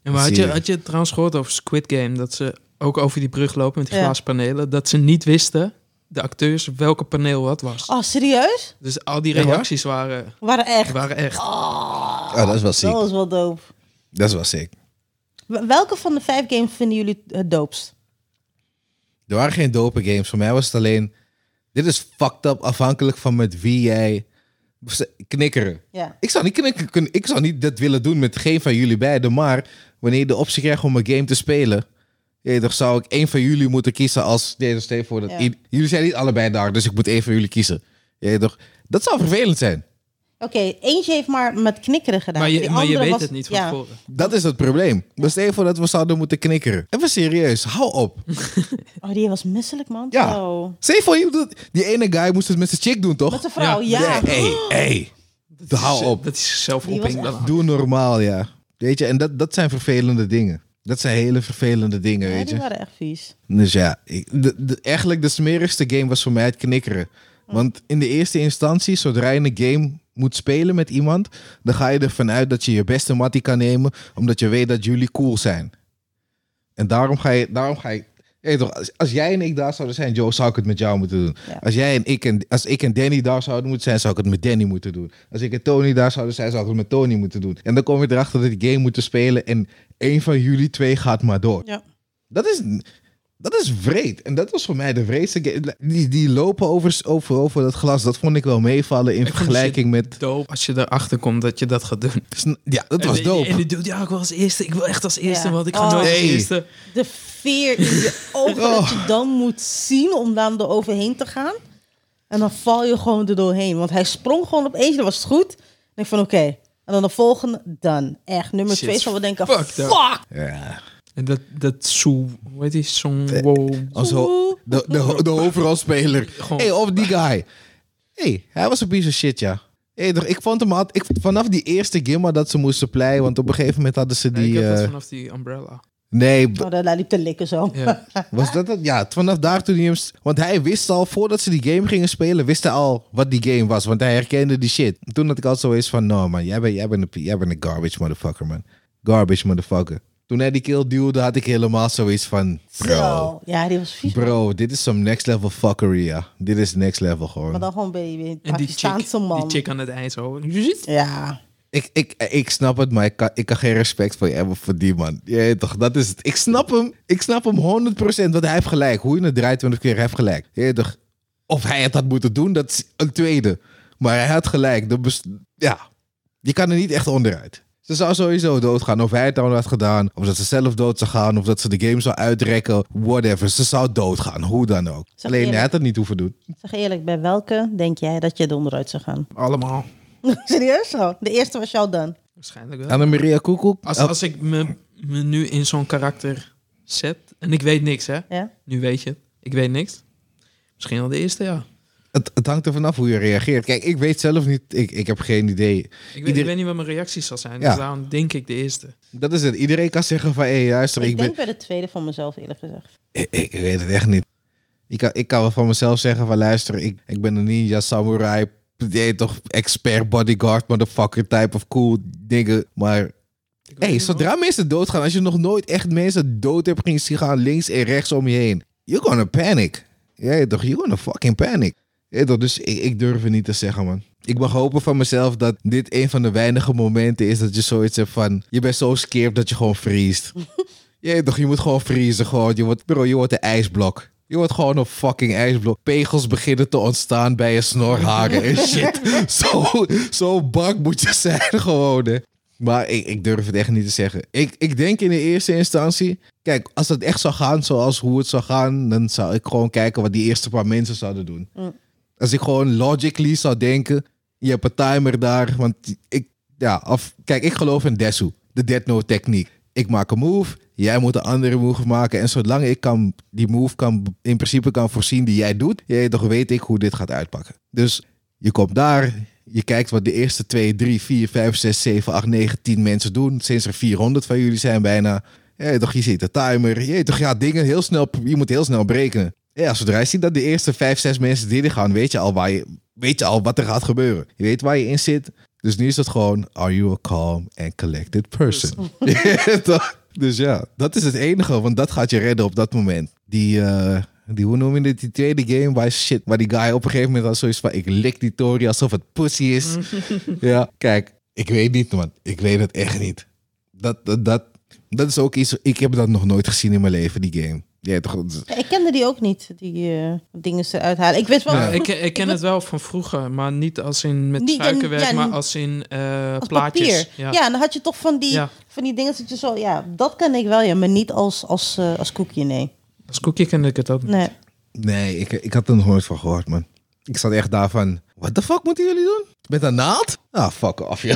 Speaker 3: En maar had
Speaker 2: Zie
Speaker 3: je,
Speaker 2: je.
Speaker 3: had je trouwens gehoord over Squid Game? Dat ze ook over die brug lopen met die
Speaker 1: Ja.
Speaker 3: glazen panelen. Dat ze niet wisten, de acteurs, welke paneel wat was.
Speaker 1: Oh, serieus?
Speaker 3: Dus al die
Speaker 2: Echt waar?
Speaker 3: reacties waren,
Speaker 1: Waren echt.
Speaker 3: waren echt.
Speaker 1: Oh,
Speaker 2: Oh, dat is wel ziek.
Speaker 1: dat is wel dope.
Speaker 2: Dat is wel sick.
Speaker 1: W- Welke van de vijf games vinden jullie het eh, doopst?
Speaker 2: Er waren geen dope games. Voor mij was het alleen... Dit is fucked up afhankelijk van met wie jij... Knikkeren.
Speaker 1: Ja.
Speaker 2: Ik zou niet knikken kunnen. Ik zou niet dat willen doen met geen van jullie beiden. Maar wanneer je de optie krijgt om een game te spelen... Ja, dan zou ik één van jullie moeten kiezen als... Nee, dus stel je voor dat...
Speaker 1: Ja.
Speaker 2: i- Jullie zijn niet allebei daar, dus ik moet één van jullie kiezen. Ja, toch? Dat zou vervelend zijn.
Speaker 1: Oké, eentje heeft maar met knikkeren gedaan.
Speaker 3: Maar je,
Speaker 1: Die
Speaker 3: maar je
Speaker 1: andere
Speaker 3: weet
Speaker 1: was-
Speaker 3: het niet van
Speaker 1: ja.
Speaker 3: tevoren.
Speaker 2: Dat is het probleem. Dus stel je voor dat we zouden moeten knikkeren. Even serieus, hou op.
Speaker 1: Oh, die was misselijk, man.
Speaker 2: Ja.
Speaker 1: Zo.
Speaker 2: Stel je voor, je doet- die ene guy moest het met zijn chick doen, toch?
Speaker 1: Met de vrouw, ja. Oh,
Speaker 2: Nee, hey, hey.
Speaker 3: Dat
Speaker 2: Hou
Speaker 3: is-
Speaker 2: op.
Speaker 3: Dus, eh, Dat is zichzelf
Speaker 1: Die was
Speaker 3: ophing.
Speaker 1: echt-
Speaker 3: dan.
Speaker 2: Doe normaal, ja. Weet je, en dat, dat zijn vervelende dingen. Dat zijn hele vervelende dingen,
Speaker 1: Ja,
Speaker 2: weet
Speaker 1: die
Speaker 2: je.
Speaker 1: waren echt vies.
Speaker 2: Dus ja, ik, de, de- eigenlijk de smerigste game was voor mij het knikkeren. Want in de eerste instantie, zodra je een game moet spelen met iemand, dan ga je ervan uit dat je je beste mattie kan nemen, omdat je weet dat jullie cool zijn. En daarom ga je, daarom ga je, je weet toch, als, als jij en ik daar zouden zijn, Joe, zou ik het met jou moeten doen.
Speaker 1: Ja.
Speaker 2: Als jij en ik en, als ik en Danny daar zouden moeten zijn, zou ik het met Danny moeten doen. Als ik en Tony daar zouden zijn, zou ik het met Tony moeten doen. En dan kom je erachter dat die game moeten spelen en één van jullie twee gaat maar door.
Speaker 1: Ja.
Speaker 2: Dat is, dat is vreed. En dat was voor mij de vreedste game. Die, die lopen over, over, over dat glas, dat vond ik wel meevallen in
Speaker 3: vond
Speaker 2: vergelijking met...
Speaker 3: Dope als je erachter komt dat je dat gaat doen.
Speaker 2: Ja, dat was
Speaker 3: En die- En
Speaker 2: dope.
Speaker 3: die doet, ja, ik wil als eerste. Ik wil echt als eerste,
Speaker 1: Ja.
Speaker 3: want ik ga
Speaker 1: Oh.
Speaker 3: nooit als
Speaker 2: Nee.
Speaker 3: eerste.
Speaker 1: De veer in je ogen
Speaker 2: Oh.
Speaker 1: dat je dan moet zien om dan er overheen te gaan. En dan val je gewoon er doorheen. Want hij sprong gewoon opeens, dat was het goed. En ik van oké. En dan de volgende, dan. Echt, nummer
Speaker 3: Shit,
Speaker 1: twee zal we denken, fuck!
Speaker 3: fucked up.
Speaker 2: Ja.
Speaker 3: En dat, dat Sue, hoe heet die? Song, wow.
Speaker 2: Also, de, de, de hoofdrolspeler.
Speaker 3: Gewoon-
Speaker 2: Hey, of die guy. hey, hij was een piece of shit, ja. Hey, toch, ik vond hem altijd... Ik, vanaf die eerste gimma dat ze moesten pleien, want op een gegeven moment hadden ze
Speaker 3: Nee,
Speaker 2: die...
Speaker 3: ik heb dat
Speaker 2: eh,
Speaker 3: vanaf die umbrella.
Speaker 2: nee, b-
Speaker 1: Oh, daar daar liep te likken zo.
Speaker 3: Ja.
Speaker 2: was dat het? Ja, vanaf daar toen hij hem... s- Want hij wist al, voordat ze die game gingen spelen, wist hij al wat die game was. Want hij herkende die shit. Toen had ik al zoiets van, no man, jij bent, jij, bent een, pi- jij bent een garbage motherfucker, man. Garbage motherfucker. Toen hij die kill duwde, had ik helemaal zoiets van, bro...
Speaker 1: Zo. Ja, die was vies.
Speaker 2: Bro, dit is some next level fuckery, ja. Dit is next level
Speaker 1: Maar
Speaker 2: gewoon.
Speaker 1: dan gewoon baby. Een
Speaker 3: En die chick,
Speaker 1: Pakistaanse man.
Speaker 3: die chick aan het ijs. zo. Zit.
Speaker 1: Ja.
Speaker 2: Ik, ik, ik snap het, maar ik kan, ik kan geen respect voor je hebben voor die man. Je weet toch, dat is het. Ik snap hem. Ik snap hem 100%, want hij heeft gelijk. Hoe je het draait, 20 keer, hij heeft gelijk. Je weet toch, of hij het had moeten doen, dat is een tweede. Maar hij had gelijk. Dat bes- ja, je kan er niet echt onderuit. Ze zou sowieso doodgaan. Of hij het dan had gedaan. Of dat ze zelf dood zou gaan. Of dat ze de game zou uitrekken. Whatever. Ze zou doodgaan. Hoe dan ook.
Speaker 1: Zeg
Speaker 2: Alleen hij
Speaker 1: eerlijk.
Speaker 2: had het niet hoeven doen.
Speaker 1: Zeg eerlijk, bij welke denk jij dat je er onderuit zou gaan?
Speaker 3: Allemaal.
Speaker 1: Serieus zo? De eerste was jou dan.
Speaker 3: Waarschijnlijk wel.
Speaker 2: Annemaria Koekoek.
Speaker 3: Als,
Speaker 2: Oh,
Speaker 3: als ik me, me nu in zo'n karakter zet. En ik weet niks, hè.
Speaker 1: Ja?
Speaker 3: Nu weet je het. Ik weet niks. Misschien al de eerste, ja.
Speaker 2: het, het hangt er vanaf hoe je reageert. Kijk, ik weet zelf niet. Ik, ik heb geen idee.
Speaker 3: Ik weet,
Speaker 2: Ieder-
Speaker 3: ik weet niet wat mijn reactie zal zijn.
Speaker 2: Ja.
Speaker 3: Dus daarom denk ik de eerste.
Speaker 2: Dat is het. Iedereen kan zeggen van... Hé, hey, luister,
Speaker 1: ik
Speaker 2: ik, ben...
Speaker 1: denk bij de tweede van mezelf eerlijk gezegd.
Speaker 2: Ik, ik weet het echt niet. Ik kan, ik kan wel van mezelf zeggen van... Luister, ik, ik ben een ninja samurai... Nee, toch expert bodyguard motherfucker type of cool dingen. Maar
Speaker 3: Ik weet
Speaker 2: hey,
Speaker 3: niet
Speaker 2: zodra mensen doodgaan... Als je nog nooit echt mensen dood hebt gezien zien gaan... Links en rechts om je heen. You're gonna panic. Ja, toch? You're gonna fucking panic. Ja, toch? Dus ik, ik durf het niet te zeggen, man. Ik mag hopen van mezelf dat dit een van de weinige momenten is dat je zoiets hebt van... Je bent zo scared dat je gewoon vriest. Ja, toch? Je moet gewoon vriezen, gewoon. Je wordt, bro, je wordt een ijsblok. Je wordt gewoon een fucking ijsblok. Pegels beginnen te ontstaan bij je snorharen en shit. Zo, zo bang moet je zijn, gewoon, hè. Maar ik, ik durf het echt niet te zeggen. Ik, ik denk in de eerste instantie... Kijk, als het echt zou gaan zoals hoe het zou gaan... dan zou ik gewoon kijken wat die eerste paar mensen zouden doen. Als ik gewoon logically zou denken... je hebt een timer daar, want ik... Ja, of, kijk, ik geloof in Desu. De Death Note techniek. Ik maak een move, jij moet een andere move maken. En zolang ik kan, die move kan, in principe kan voorzien die jij doet... jij toch weet ik hoe dit gaat uitpakken. Dus je komt daar, je kijkt wat de eerste 2, 3, 4, 5, 6, 7, 8, 9, 10 mensen doen. Sinds er 400 van jullie zijn bijna. Ja, toch, je ziet de timer. Je, toch, ja, dingen heel snel, je moet heel snel berekenen. Ja, zodra je ziet dat de eerste 5, 6 mensen die gaan, weet je, al waar je, weet je al wat er gaat gebeuren. Je weet waar je in zit. Dus nu is het gewoon, are you a calm and collected person? Ja, toch? dus ja, dat is het enige, want dat gaat je redden op dat moment. Die, eh, die hoe noem je dit, die tweede game, waar, shit, waar die guy op een gegeven moment had zoiets van, ik lik die Tori alsof het pussy is. ja, kijk, ik weet niet man, ik weet het echt niet. Dat, dat, dat, dat is ook iets, ik heb dat nog nooit gezien in mijn leven, die game. Ja, toch, dat is-
Speaker 1: Ja, ik kende die ook niet, die eh, dingen ze uithalen. Ik wist wel...
Speaker 3: Nou, ik, ik ken het wel van vroeger, maar niet als in met
Speaker 1: Niet in-
Speaker 3: suikerwerk,
Speaker 1: ja,
Speaker 3: maar
Speaker 1: niet-
Speaker 3: als in eh,
Speaker 1: als
Speaker 3: plaatjes.
Speaker 1: papier. Ja. en dan had je toch van die,
Speaker 3: Ja.
Speaker 1: van die dingen dat je zo... Ja, dat ken ik wel, ja. Maar niet als, als, eh, als koekje, nee.
Speaker 3: Als koekje kende ik het ook. niet.
Speaker 1: Nee.
Speaker 2: Nee, ik, ik had er nog nooit van gehoord, man. Ik zat echt daar van, what the fuck moeten jullie doen? Met een naald? Ah, fuck off, ja.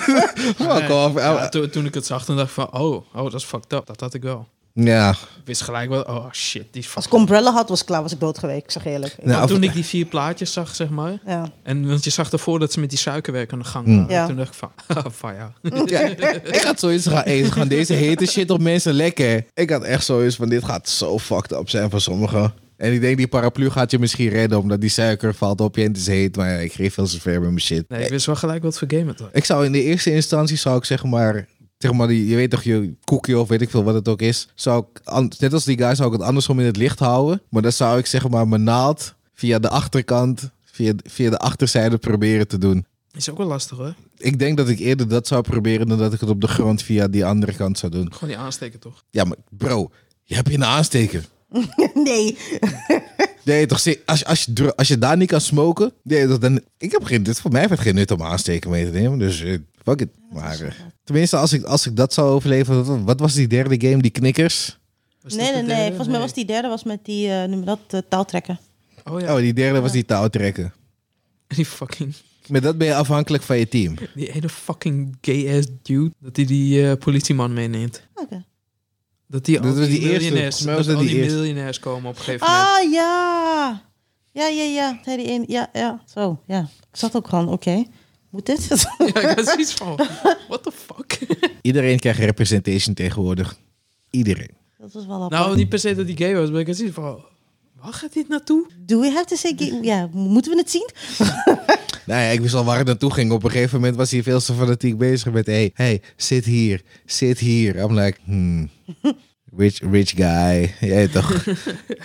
Speaker 2: fuck off.
Speaker 3: Ja, to- toen ik het zag, toen dacht ik van, oh, oh, dat is fucked up. Dat had ik wel.
Speaker 2: Ja,
Speaker 3: Ik wist gelijk wel, oh shit, die
Speaker 1: Als
Speaker 3: is fucked
Speaker 1: ik Umbrella had, was ik klaar, was ik dood geweest. Ik zeg eerlijk.
Speaker 2: Nou,
Speaker 3: Want
Speaker 2: of-
Speaker 3: toen ik die vier plaatjes zag, zeg maar.
Speaker 1: Ja.
Speaker 3: En want je zag ervoor dat ze met die suikerwerk aan de gang
Speaker 2: Hmm.
Speaker 3: waren.
Speaker 1: Ja.
Speaker 3: Toen dacht ik van, oh, van ja.
Speaker 2: Ja, ik had zoiets gaan eten. Gaan deze hete shit op mensen lekker. Ik had echt zoiets van, dit gaat zo fucked up zijn voor sommigen. En ik denk, die paraplu gaat je misschien redden, omdat die suiker valt op je en het is heet. Maar ja, ik geef veel zover met mijn shit.
Speaker 3: Nee, ik wist wel gelijk wat voor game het was.
Speaker 2: Ik zou in de eerste instantie, zou ik zeg maar, zeg maar die, je weet toch, je koekje of weet ik veel wat het ook is. Zou ik, an- net als die guy, zou ik het andersom in het licht houden. Maar dan zou ik zeg maar mijn naald via de achterkant, via, via de achterzijde proberen te doen.
Speaker 3: Is ook wel lastig hoor.
Speaker 2: Ik denk dat ik eerder dat zou proberen dan dat ik het op de grond via die andere kant zou doen.
Speaker 3: Gewoon die aansteken toch?
Speaker 2: Ja, maar bro, je hebt je een aansteker.
Speaker 1: Nee.
Speaker 2: Nee, toch? zie- Als, als, je, dru- als je daar niet kan smoken. Nee, toch, dan, ik heb geen, dit, voor mij heeft het geen nut om aansteken mee te nemen. Dus eh, fuck it. Maar, eh, tenminste, als ik, als ik dat zou overleven. Wat, wat was die derde game? Die knikkers?
Speaker 3: Was dit
Speaker 1: Nee,
Speaker 3: de
Speaker 1: nee, nee.
Speaker 3: derde?
Speaker 1: Volgens mij was die derde was met die, eh noem je dat, eh, touwtrekken.
Speaker 3: Oh ja,
Speaker 2: Oh, die derde was die touwtrekken.
Speaker 3: die fucking...
Speaker 2: Met dat ben je afhankelijk van je team.
Speaker 3: Die ene fucking gay-ass dude. Dat hij die eh, politieman meeneemt.
Speaker 1: Oké.
Speaker 3: Dat die,
Speaker 2: Dat
Speaker 3: al
Speaker 2: was
Speaker 3: die,
Speaker 2: die eerste,
Speaker 3: miljonairs...
Speaker 2: volgens mij was
Speaker 3: Dat
Speaker 2: dat
Speaker 3: al
Speaker 2: die
Speaker 3: die
Speaker 2: eerste.
Speaker 3: miljonairs komen op een gegeven moment.
Speaker 1: Ah, ja. Ja, ja, ja. Nee, die een, ja, ja. Zo, ja. Ik zat ook gewoon, oké. Moet dit?
Speaker 3: Ja, ik was iets van... What the fuck?
Speaker 2: Iedereen krijgt representation tegenwoordig. Iedereen.
Speaker 1: dat was wel apart.
Speaker 3: Nou, niet per se dat hij gay was, maar ik had zoiets van... Waar gaat dit naartoe?
Speaker 1: Do we have to say... gay- Ja, moeten we het zien?
Speaker 2: Nou ja, ik wist al waar het naartoe ging. Op een gegeven moment was hij veel te fanatiek bezig met... Hey, hey, zit hier. Zit hier. I'm like, hmm. Rich, rich guy. Jij toch?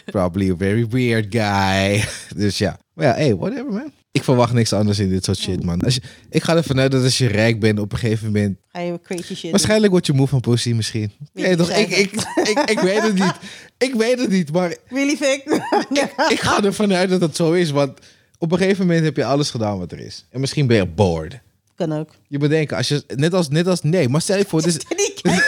Speaker 2: Probably a very weird guy. Dus ja. Maar ja, hey, whatever man. Ik verwacht niks anders in dit soort shit, man. Als je, ik ga ervan uit dat als je rijk bent op een gegeven moment...
Speaker 1: Ga je crazy shit doen?
Speaker 2: Waarschijnlijk word je moe van pussy misschien.
Speaker 1: Weet
Speaker 2: Nee,
Speaker 1: je
Speaker 2: toch? Ik,
Speaker 1: zeker.
Speaker 2: ik, ik, ik weet het niet. Ik weet het niet, maar
Speaker 1: Really fake?
Speaker 2: ik ga ervan uit dat dat zo is. Want op een gegeven moment heb je alles gedaan wat er is. En misschien ben je bored.
Speaker 1: kan ook.
Speaker 2: Je bedenken, als je, net, als, net als, nee, maar stel je voor, dit is,
Speaker 1: Die kijken.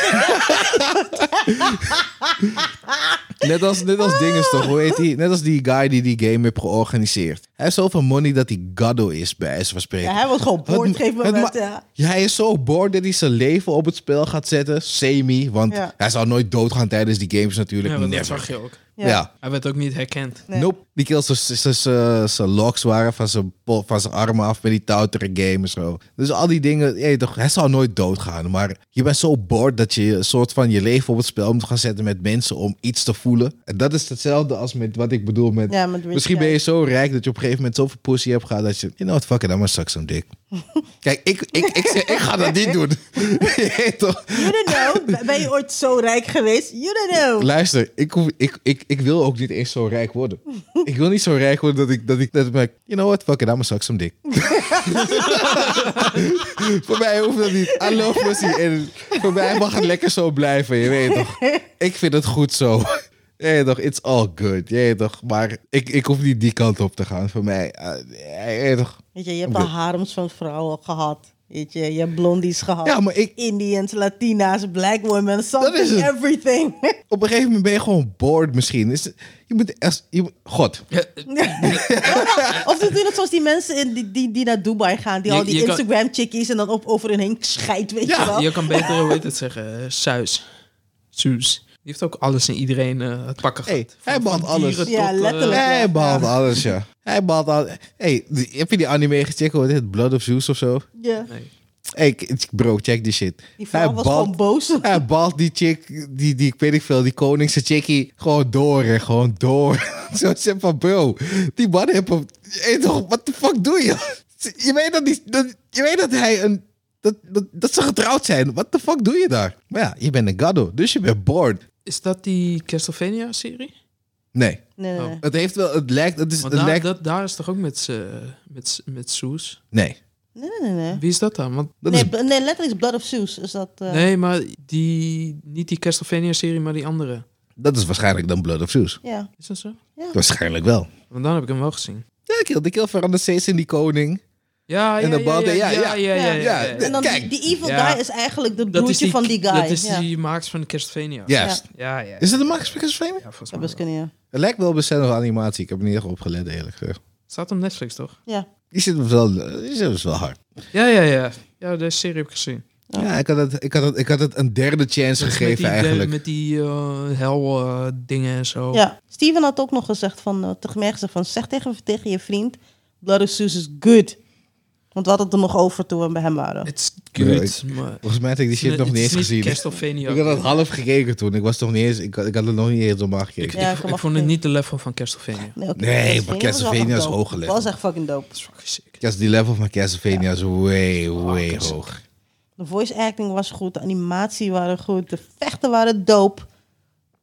Speaker 2: net als, net als dinges toch, hoe heet die? Net als die guy die die game heeft georganiseerd. Hij heeft zoveel money dat hij gaddo is, bij wijze van spreken.
Speaker 1: Ja, hij was gewoon
Speaker 2: Het-
Speaker 1: boord, geef me
Speaker 2: het
Speaker 1: wat.
Speaker 2: ma-
Speaker 1: Ja.
Speaker 2: Ja, hij is zo bored dat hij zijn leven op het spel gaat zetten. Semi, want
Speaker 1: Ja.
Speaker 2: hij zal nooit doodgaan tijdens die games natuurlijk.
Speaker 3: Ja, want dat
Speaker 2: Never.
Speaker 3: zag je ook.
Speaker 1: Ja.
Speaker 2: ja,
Speaker 3: Hij werd ook niet herkend.
Speaker 1: Nee.
Speaker 2: Nope. Die kills z- z- z- zijn locks waren van zijn pol- van zijn armen af met die toutere game en zo. Dus al die dingen, je weet toch, hij zou nooit doodgaan. Maar je bent zo bored dat je een soort van je leven op het spel moet gaan zetten met mensen om iets te voelen. En dat is hetzelfde als met wat ik bedoel met...
Speaker 1: Ja, met rich
Speaker 2: misschien ben
Speaker 1: guy.
Speaker 2: je zo rijk dat je op een gegeven moment zoveel pussy hebt gehad dat je... You know what, fuck it, I'm gonna suck some dick. Kijk, ik, ik, ik, ik, ik ga dat niet doen. Je weet toch?
Speaker 1: You don't know. Ben je ooit zo rijk geweest? You don't know.
Speaker 2: Luister, ik, hoef, ik, ik, ik wil ook niet eens zo rijk worden. ik wil niet zo rijk worden dat ik dat ik dat ik merk, you know what, fuck it, I'm a suck some dick. voor mij hoeft dat niet. I love pussy. En voor mij mag het lekker zo blijven, je weet toch. Ik vind het goed zo. Je weet toch, it's all good. Je weet toch, maar ik, ik hoef niet die kant op te gaan. Voor mij, eh, je weet toch.
Speaker 1: Weet je, je hebt al harems van vrouwen gehad. Weet je, je hebt blondies gehad.
Speaker 2: Ja, maar ik,
Speaker 1: Indians, Latina's, black women, something,
Speaker 2: is het.
Speaker 1: everything.
Speaker 2: op een gegeven moment ben je gewoon bored misschien. Is, je moet echt, je, moet- god.
Speaker 1: of ze doen het zoals die mensen in die, die, die naar Dubai gaan, die
Speaker 3: Je-
Speaker 1: al die
Speaker 3: je kan-
Speaker 1: Instagram-chickies en dan op, over hun heen scheidt, weet
Speaker 2: Ja,
Speaker 1: je wel.
Speaker 3: eh, Je kan beter, hoe heet het zeggen, eh, Suis. Suus. Die heeft ook alles en iedereen eh, het pakken
Speaker 2: Hey,
Speaker 3: gehad.
Speaker 2: hij behandelt alles.
Speaker 3: dieren
Speaker 1: Ja,
Speaker 3: tot, eh,
Speaker 1: letterlijk. Ja.
Speaker 2: Hij behaalt alles, ja. Hij behaalt alles. Hey, die- heb je die anime gecheckt? Hoe heet het? Blood of Zeus of zo?
Speaker 1: Ja.
Speaker 3: nee.
Speaker 2: Hey, k- bro, check die shit.
Speaker 1: Die vrouw was gewoon boos.
Speaker 2: Hij baalt die chick, die, die, ik weet niet veel, die koningse chickie, gewoon door en gewoon door. Zo zeg van, bro, die man heeft hem... Hey, toch, wat de fuck doe je? Je weet dat, die, dat, je weet dat hij een... Dat, dat, dat ze getrouwd zijn. Wat de fuck doe je daar? Maar ja, je bent een gaddo, dus je bent bored.
Speaker 3: Is dat die Castlevania-serie?
Speaker 2: Nee,
Speaker 1: Nee, nee,
Speaker 3: Oh.
Speaker 1: nee.
Speaker 2: het heeft wel... Het lijkt... Het is,
Speaker 3: Want
Speaker 2: het
Speaker 3: daar,
Speaker 2: lijkt
Speaker 3: dat, daar is toch ook met, z'n- met, z'n- met Soes?
Speaker 2: nee,
Speaker 1: Nee, nee, nee. nee.
Speaker 3: Wie is dat dan? Want,
Speaker 2: dat
Speaker 1: nee,
Speaker 2: is
Speaker 1: bl- nee, letterlijk is Blood of Zeus. Is dat, eh,
Speaker 3: Nee, maar die, niet die Castlevania-serie, maar die andere.
Speaker 2: Dat is waarschijnlijk dan Blood of Zeus.
Speaker 1: Ja.
Speaker 3: Is dat zo?
Speaker 2: Waarschijnlijk wel.
Speaker 3: Want dan heb ik hem wel gezien.
Speaker 2: Ja, de kill, de kill verandert steeds in die koning.
Speaker 3: Ja, ja,
Speaker 2: En de
Speaker 3: ja,
Speaker 2: bal-
Speaker 3: ja,
Speaker 2: ja,
Speaker 3: ja, ja, ja, ja, ja,
Speaker 2: ja.
Speaker 1: En dan die,
Speaker 2: Kijk.
Speaker 1: die evil
Speaker 3: Ja.
Speaker 1: guy is eigenlijk de
Speaker 3: Dat is
Speaker 1: broertje van die guy.
Speaker 3: Dat is
Speaker 1: ja.
Speaker 3: die maaks van Castlevania.
Speaker 2: Juist.
Speaker 3: Ja, ja.
Speaker 2: Is het een Max Speakers-frame?
Speaker 3: Ja, volgens
Speaker 1: Dat
Speaker 3: mij
Speaker 1: was
Speaker 3: wel.
Speaker 1: kunnen, ja.
Speaker 2: Het lijkt wel op een scène van animatie. Ik heb er niet echt op gelet, eerlijk gezegd.
Speaker 3: Staat op Netflix, toch?
Speaker 1: ja.
Speaker 2: Die zit wel, die zit wel hard.
Speaker 3: Ja, ja, ja. Ja, de serie heb ik gezien.
Speaker 1: Ja.
Speaker 2: Ja, ik had, het, ik, had het, ik had het een derde chance
Speaker 3: Dat is
Speaker 2: gegeven
Speaker 3: met die,
Speaker 2: eigenlijk.
Speaker 3: Met die eh, hel eh, dingen en zo.
Speaker 1: ja. Steven had ook nog gezegd van, eh, tegen mij gezegd van, zeg tegen, tegen je vriend, Blood of Zeus is good. Want we hadden het er nog over toen we bij hem waren.
Speaker 3: It's
Speaker 2: Ja,
Speaker 3: good,
Speaker 2: ik-
Speaker 3: maar...
Speaker 2: Volgens mij had ik die shit nog niet eens gezien.
Speaker 3: Castlevania.
Speaker 2: Ik had dat half gekeken toen. Ik was toch niet eens. Ik had, ik had het nog niet eens om
Speaker 3: Ik,
Speaker 2: aangekeken.
Speaker 1: Ja, ik kan
Speaker 3: ik, ik vond het
Speaker 1: afkijken.
Speaker 3: niet de level van Castlevania.
Speaker 1: Nee, oké,
Speaker 2: Nee, maar
Speaker 1: was wel
Speaker 2: Castlevania
Speaker 1: echt
Speaker 2: is
Speaker 1: dope.
Speaker 2: hoog gelegd.
Speaker 1: Dat was echt fucking dope.
Speaker 3: Dat is fucking sick.
Speaker 2: Ja, die level van Castlevania is way, way
Speaker 3: Fuck, Oh, is-
Speaker 2: hoog.
Speaker 1: De voice acting was goed, de animatie waren goed, de vechten waren dope.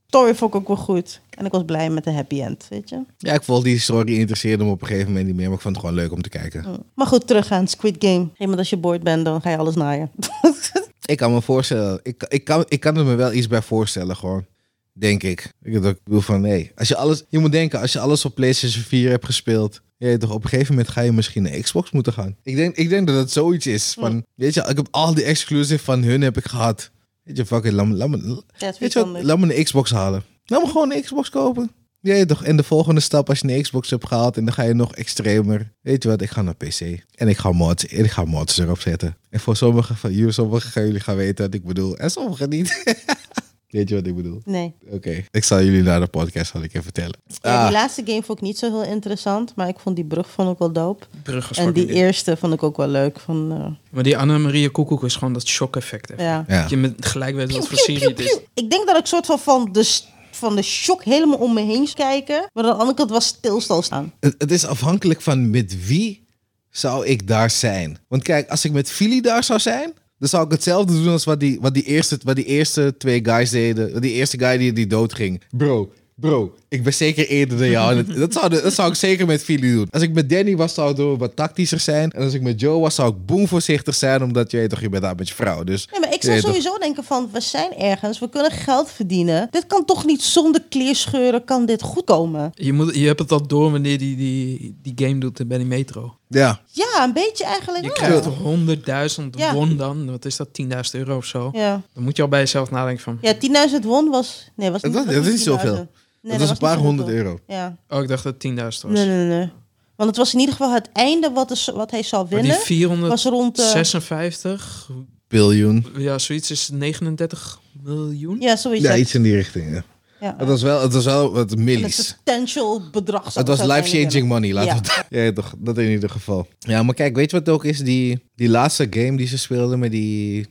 Speaker 1: Story vond ik ook wel goed. En ik was blij met de happy end, weet je.
Speaker 2: Ja, ik vond die story interesseerde me op een gegeven moment niet meer. Maar ik vond het gewoon leuk om te kijken.
Speaker 1: Maar goed, terug aan Squid Game. Op een gegeven moment als je boord bent, dan ga je alles naaien.
Speaker 2: Ik kan me voorstellen. Ik, ik, kan, ik kan er me wel iets bij voorstellen, gewoon. Denk ik. Ik dat ik bedoel van nee. Als je alles. Je moet denken, als je alles op PlayStation 4 hebt gespeeld. Je weet toch, op een gegeven moment ga je misschien naar Xbox moeten gaan. Ik denk, ik denk dat dat zoiets is. Van, Weet je, ik heb al die exclusive van hun heb ik gehad. Weet je, fuck it, laat me, laat me,
Speaker 1: Dat
Speaker 2: weet je wat, laat me een Xbox halen. Laat me gewoon een Xbox kopen. Ja, ja, toch. En de volgende stap, als je een Xbox hebt gehaald en dan ga je nog extremer. Weet je wat, ik ga naar PC. En ik ga mods, en ik ga mods erop zetten. En voor sommigen van jullie, sommigen gaan jullie gaan weten wat ik bedoel. En sommigen niet. weet je wat ik bedoel?
Speaker 1: Nee.
Speaker 2: Oké. Ik zal jullie naar de podcast zal ik even vertellen.
Speaker 1: Ja,
Speaker 2: Ah,
Speaker 1: die laatste game vond ik niet zo heel interessant, maar ik vond die brug vond ik wel dope.
Speaker 3: Brug was
Speaker 1: En die
Speaker 3: fucking-
Speaker 1: eerste vond ik ook wel leuk. Van, eh,
Speaker 3: Maar die Anna-Maria Koekoek is gewoon dat shock-effect. hè.
Speaker 1: ja.
Speaker 2: ja.
Speaker 3: Dat je met gelijk weet wat voor
Speaker 1: Pieuw,
Speaker 3: serie
Speaker 1: pieuw,
Speaker 3: het is.
Speaker 1: pieuw. Ik denk dat ik soort van van de, s- van de shock helemaal om me heen kijken, maar aan de andere kant was stilstal staan.
Speaker 2: Het, het is afhankelijk van met wie zou ik daar zijn. Want kijk, als ik met Philly daar zou zijn, dan zou ik hetzelfde doen als wat die, wat die, eerste, wat die eerste twee guys deden. Wat Die eerste guy die, die doodging. Bro, bro, ik ben zeker eerder dan jou. En Dat, dat, zou, de- dat zou ik zeker met Philly doen. Als ik met Danny was, zou ik door wat tactischer zijn. En als ik met Joe was, zou ik boem voorzichtig zijn, omdat je weet toch, je bent daar met je vrouw. Dus,
Speaker 1: Nee, maar ik
Speaker 2: je
Speaker 1: zou
Speaker 2: weet toch-
Speaker 1: sowieso denken van, we zijn ergens, we kunnen geld verdienen. Dit kan toch niet zonder kleerscheuren, kan dit goed komen?
Speaker 3: Je, moet, je hebt het al door wanneer die, die, die game doet bij die metro.
Speaker 2: Ja,
Speaker 1: Ja, een beetje eigenlijk.
Speaker 3: Je
Speaker 1: wel.
Speaker 3: krijgt 100.000
Speaker 1: Oh. Ja.
Speaker 3: won dan. Wat is dat? 10.000 euro of zo.
Speaker 1: Ja,
Speaker 3: Dan moet je al bij jezelf nadenken van...
Speaker 1: ja 10.000 won was... Nee, was
Speaker 2: Dat
Speaker 1: niet,
Speaker 2: was- dat is niet
Speaker 1: 10.000.
Speaker 2: zoveel.
Speaker 1: Nee,
Speaker 2: dat was een
Speaker 1: niet
Speaker 2: paar honderd
Speaker 1: zoveel.
Speaker 2: euro.
Speaker 1: Ja,
Speaker 3: Oh, ik dacht dat het 10.000 was.
Speaker 1: nee, nee, nee. Want het was in ieder geval het einde wat, is, wat hij zou
Speaker 3: Maar die
Speaker 1: winnen. was rond...
Speaker 3: 456,
Speaker 1: eh,
Speaker 2: Biljoen.
Speaker 3: ja, zoiets is 39 miljoen.
Speaker 1: ja, zoiets.
Speaker 2: Ja, iets in die richting. Ja.
Speaker 1: Ja.
Speaker 2: Het was wel, het was wel wat
Speaker 1: En
Speaker 2: millies.
Speaker 1: het potential bedrag. zou
Speaker 2: Het was
Speaker 1: het uiteindelijk
Speaker 2: life-changing
Speaker 1: hebben.
Speaker 2: money, laten
Speaker 1: Ja.
Speaker 2: we het- ja. toch, dat in ieder geval. Ja, maar kijk, weet je wat het ook is? Die, die laatste game die ze speelden met, die,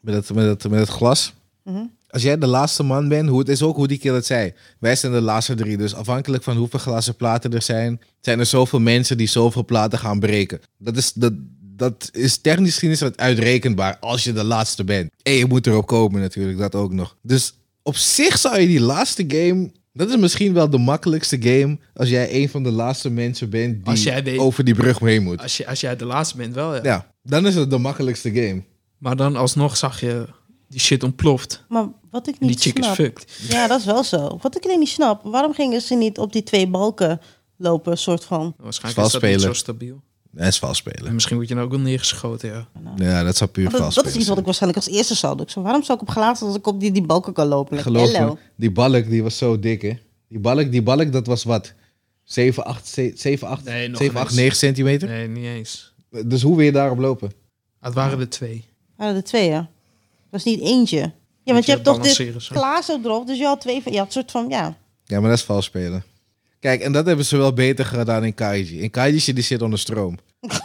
Speaker 2: met, dat, met, dat, met het glas.
Speaker 1: Mhm.
Speaker 2: Als jij de laatste man bent, hoe, het is ook hoe die keer het zei. Wij zijn de laatste drie, dus afhankelijk van hoeveel glazen platen er zijn... zijn er zoveel mensen die zoveel platen gaan breken. Dat is, dat, dat is technisch gezien is dat uitrekenbaar als je de laatste bent. En je moet erop komen natuurlijk, dat ook nog. Dus op zich zou je die laatste game... Dat is misschien wel de makkelijkste game als jij een van de laatste mensen bent
Speaker 3: Als
Speaker 2: die
Speaker 3: jij weet-
Speaker 2: over die brug mee moet.
Speaker 3: Als, je, als jij de laatste bent wel, ja.
Speaker 2: Ja, dan is het de makkelijkste game.
Speaker 3: Maar dan alsnog zag je die shit ontploft.
Speaker 1: Maar wat ik
Speaker 3: En die
Speaker 1: niet
Speaker 3: chick is
Speaker 1: snap...
Speaker 3: fucked.
Speaker 1: Ja, dat is wel zo. Wat ik alleen niet snap, waarom gingen ze niet op die twee balken lopen, soort van?
Speaker 3: Waarschijnlijk is dat niet
Speaker 2: Valspelen.
Speaker 3: zo stabiel.
Speaker 2: Dat is vals spelen.
Speaker 3: En misschien word je nou ook wel neergeschoten, ja.
Speaker 2: Ja, dat zou puur
Speaker 1: Want
Speaker 2: vals
Speaker 1: Dat, dat is iets wat ik waarschijnlijk als eerste zou doen. Ik zo, waarom zou ik op gelaten als ik op die, die balken kan lopen? Like,
Speaker 2: Geloof me,
Speaker 1: hello.
Speaker 2: die balk die was zo dik, hè? Die balk, die balk dat was wat? 7, 8, 7, 8,
Speaker 3: Nee, nog
Speaker 2: 7,
Speaker 3: niet
Speaker 2: 8
Speaker 3: eens.
Speaker 2: 9 centimeter?
Speaker 3: Nee, niet eens. Ah,
Speaker 2: Dus hoe wil je daarop lopen?
Speaker 3: Het waren er twee.
Speaker 1: Waren er Ah, twee, ja. Dat is niet eentje. Ja, want
Speaker 3: Moet
Speaker 1: je
Speaker 3: je
Speaker 1: hebt toch dit
Speaker 3: balanceren, zo.
Speaker 1: glazen erop, dus je had twee van... Ja, het soort van, ja.
Speaker 2: Ja, maar dat is vals spelen. Kijk, en dat hebben ze wel beter gedaan in Kaiji. In Kaiji zit die shit onder stroom.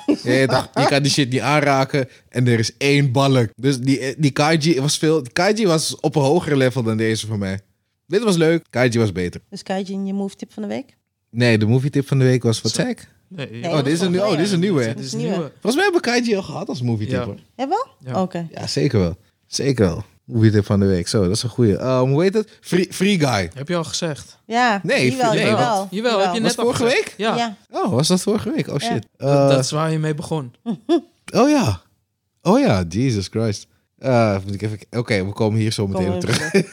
Speaker 2: je, weet toch, je kan die shit niet aanraken en er is één balk. Dus die, die Kaiji was veel... Kaiji was op een hoger level dan deze voor mij. Dit was leuk, Kaiji was beter.
Speaker 1: Dus Kaijin, je move tip van de week.
Speaker 2: Nee, de movie tip van de week was... Wat
Speaker 3: Zo.
Speaker 2: zei ik?
Speaker 3: Nee,
Speaker 1: Nee,
Speaker 2: Oh, dit is een, nieuw- oh, dit is een nieuwe, hè?
Speaker 3: Dit is
Speaker 1: een
Speaker 3: een
Speaker 1: nieuwe. Oh.
Speaker 3: nieuwe.
Speaker 2: Volgens mij hebben we Kaiji al gehad als movie tip,
Speaker 3: Ja.
Speaker 2: hoor.
Speaker 1: Ja, wel?
Speaker 3: Ja.
Speaker 1: Oké.
Speaker 2: Ja, zeker wel. Zeker wel. Movie tip van de week. Zo, dat is een goeie. Ehm, hoe heet het? Free, free Guy.
Speaker 3: Heb je al gezegd?
Speaker 1: Ja,
Speaker 2: Nee,
Speaker 1: jawel,
Speaker 2: nee,
Speaker 1: jawel,
Speaker 3: want- Jawel, heb je net
Speaker 2: Was
Speaker 3: al
Speaker 2: vorige
Speaker 3: gezegd.
Speaker 2: week?
Speaker 3: Ja,
Speaker 1: Ja.
Speaker 2: Oh, was dat vorige week? Oh
Speaker 1: Ja.
Speaker 2: shit.
Speaker 3: dat,
Speaker 2: Eh,
Speaker 3: dat is waar je mee begon.
Speaker 2: Oh ja. Oh ja, Jesus Christ. Eh, moet ik even... Oké, we komen hier zo meteen
Speaker 1: Kom
Speaker 2: op
Speaker 1: even
Speaker 2: terug.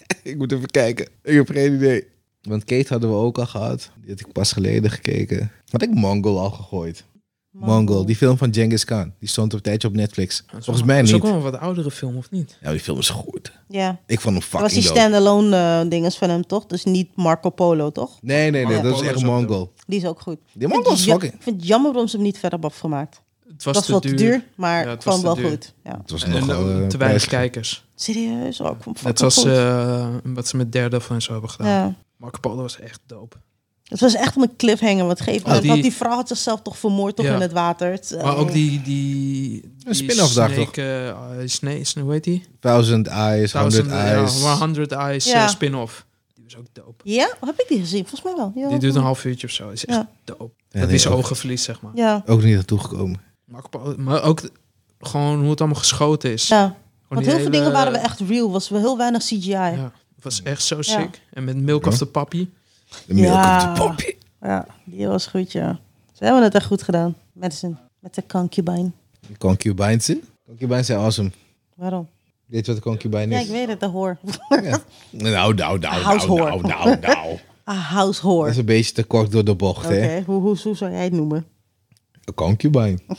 Speaker 2: ik moet even kijken. Ik heb geen idee. Want Kate hadden we ook al gehad. Die had ik pas geleden gekeken. Had ik Mongol al gegooid? Mongol, die film van Genghis Khan. Die stond op een tijdje op Netflix.
Speaker 3: Dat is
Speaker 2: Volgens
Speaker 3: wel-
Speaker 2: mij
Speaker 3: dat is
Speaker 2: niet.
Speaker 3: ook wel een wat oudere film, of niet?
Speaker 2: Ja, die film is goed.
Speaker 1: Ja.
Speaker 2: Ik vond hem
Speaker 1: Dat was
Speaker 2: fucking
Speaker 1: die
Speaker 2: dope.
Speaker 1: standalone eh, dinges van hem, toch? Dus niet Marco Polo, toch?
Speaker 2: Nee, nee, nee.
Speaker 3: Oh,
Speaker 2: Dat is
Speaker 3: Polo
Speaker 2: echt
Speaker 3: is ook
Speaker 2: Mongol.
Speaker 1: Die is ook goed.
Speaker 2: Die Mongol is
Speaker 1: Ik vind het
Speaker 2: fucking...
Speaker 1: ja- Ik vind het jammer waarom ze hem niet verder hebben afgemaakt.
Speaker 3: Het
Speaker 1: Het
Speaker 3: was,
Speaker 1: was
Speaker 3: te
Speaker 1: wel te duur, maar
Speaker 3: Ja, het
Speaker 1: gewoon wel
Speaker 3: was te duur.
Speaker 1: goed. Ja.
Speaker 2: Het was
Speaker 3: En
Speaker 2: nogal,
Speaker 3: eh,
Speaker 2: eh,
Speaker 3: te weinig
Speaker 2: prijzig.
Speaker 3: kijkers.
Speaker 1: Serieus, oh, ik vond het
Speaker 3: Net
Speaker 1: fucking
Speaker 3: zoals
Speaker 1: goed.
Speaker 3: eh, wat ze met Daredevil en zo hebben gedaan.
Speaker 1: ja.
Speaker 3: Marco Polo was echt dope.
Speaker 1: Het was echt een cliffhanger, wat geeft
Speaker 3: Oh, die-
Speaker 1: Want die vrouw had zichzelf toch vermoord toch
Speaker 3: Ja.
Speaker 1: in het water. Het, eh,
Speaker 3: Maar ook die... die, die
Speaker 2: spin-off daar toch?
Speaker 3: snake, eh, eh, sne- sne- hoe heet die?
Speaker 2: Thousand Eyes, Hundred
Speaker 3: Thousand, ja,
Speaker 2: Eyes.
Speaker 3: 100 Eyes eh,
Speaker 1: Ja.
Speaker 3: spin-off. Die was ook dope.
Speaker 1: Ja, Oh, heb ik die gezien? Volgens mij wel. Ja,
Speaker 3: Die duurt een half uurtje of zo. Is echt
Speaker 1: Ja.
Speaker 3: dope.
Speaker 2: Ja,
Speaker 3: dat
Speaker 2: nee,
Speaker 3: is
Speaker 2: ook-
Speaker 3: ogenverlies, zeg maar.
Speaker 1: Ja,
Speaker 2: Ook niet naartoe gekomen.
Speaker 3: Maar ook, maar ook gewoon hoe het allemaal geschoten is.
Speaker 1: ja.
Speaker 3: Gewoon
Speaker 1: Want
Speaker 3: die
Speaker 1: heel veel dingen
Speaker 3: hele-
Speaker 1: waren we echt real. Was wel heel weinig CGI. Ja.
Speaker 3: Ja, het was echt zo
Speaker 1: Ja.
Speaker 3: sick. En met Milk of the Puppy.
Speaker 2: De milk
Speaker 1: Ja.
Speaker 2: of the poppy.
Speaker 1: die was goed, ja. Ze hebben het echt goed gedaan. Madison, met de concubine.
Speaker 2: Die Concubines. hè? Concubines zijn awesome.
Speaker 1: Waarom?
Speaker 2: Weet je wat een concubine
Speaker 1: Ja,
Speaker 2: is?
Speaker 1: ik weet het, de hoor.
Speaker 2: Ja. Nou, nou, nou, nou,
Speaker 1: Househoor.
Speaker 2: nou, nou, nou.
Speaker 1: A Ah, house
Speaker 2: Dat
Speaker 1: whore.
Speaker 2: is een beetje te kort door de bocht,
Speaker 1: Oké,
Speaker 2: hè?
Speaker 1: hoe, hoe, hoe zou jij het noemen?
Speaker 2: Een concubine.
Speaker 1: Ik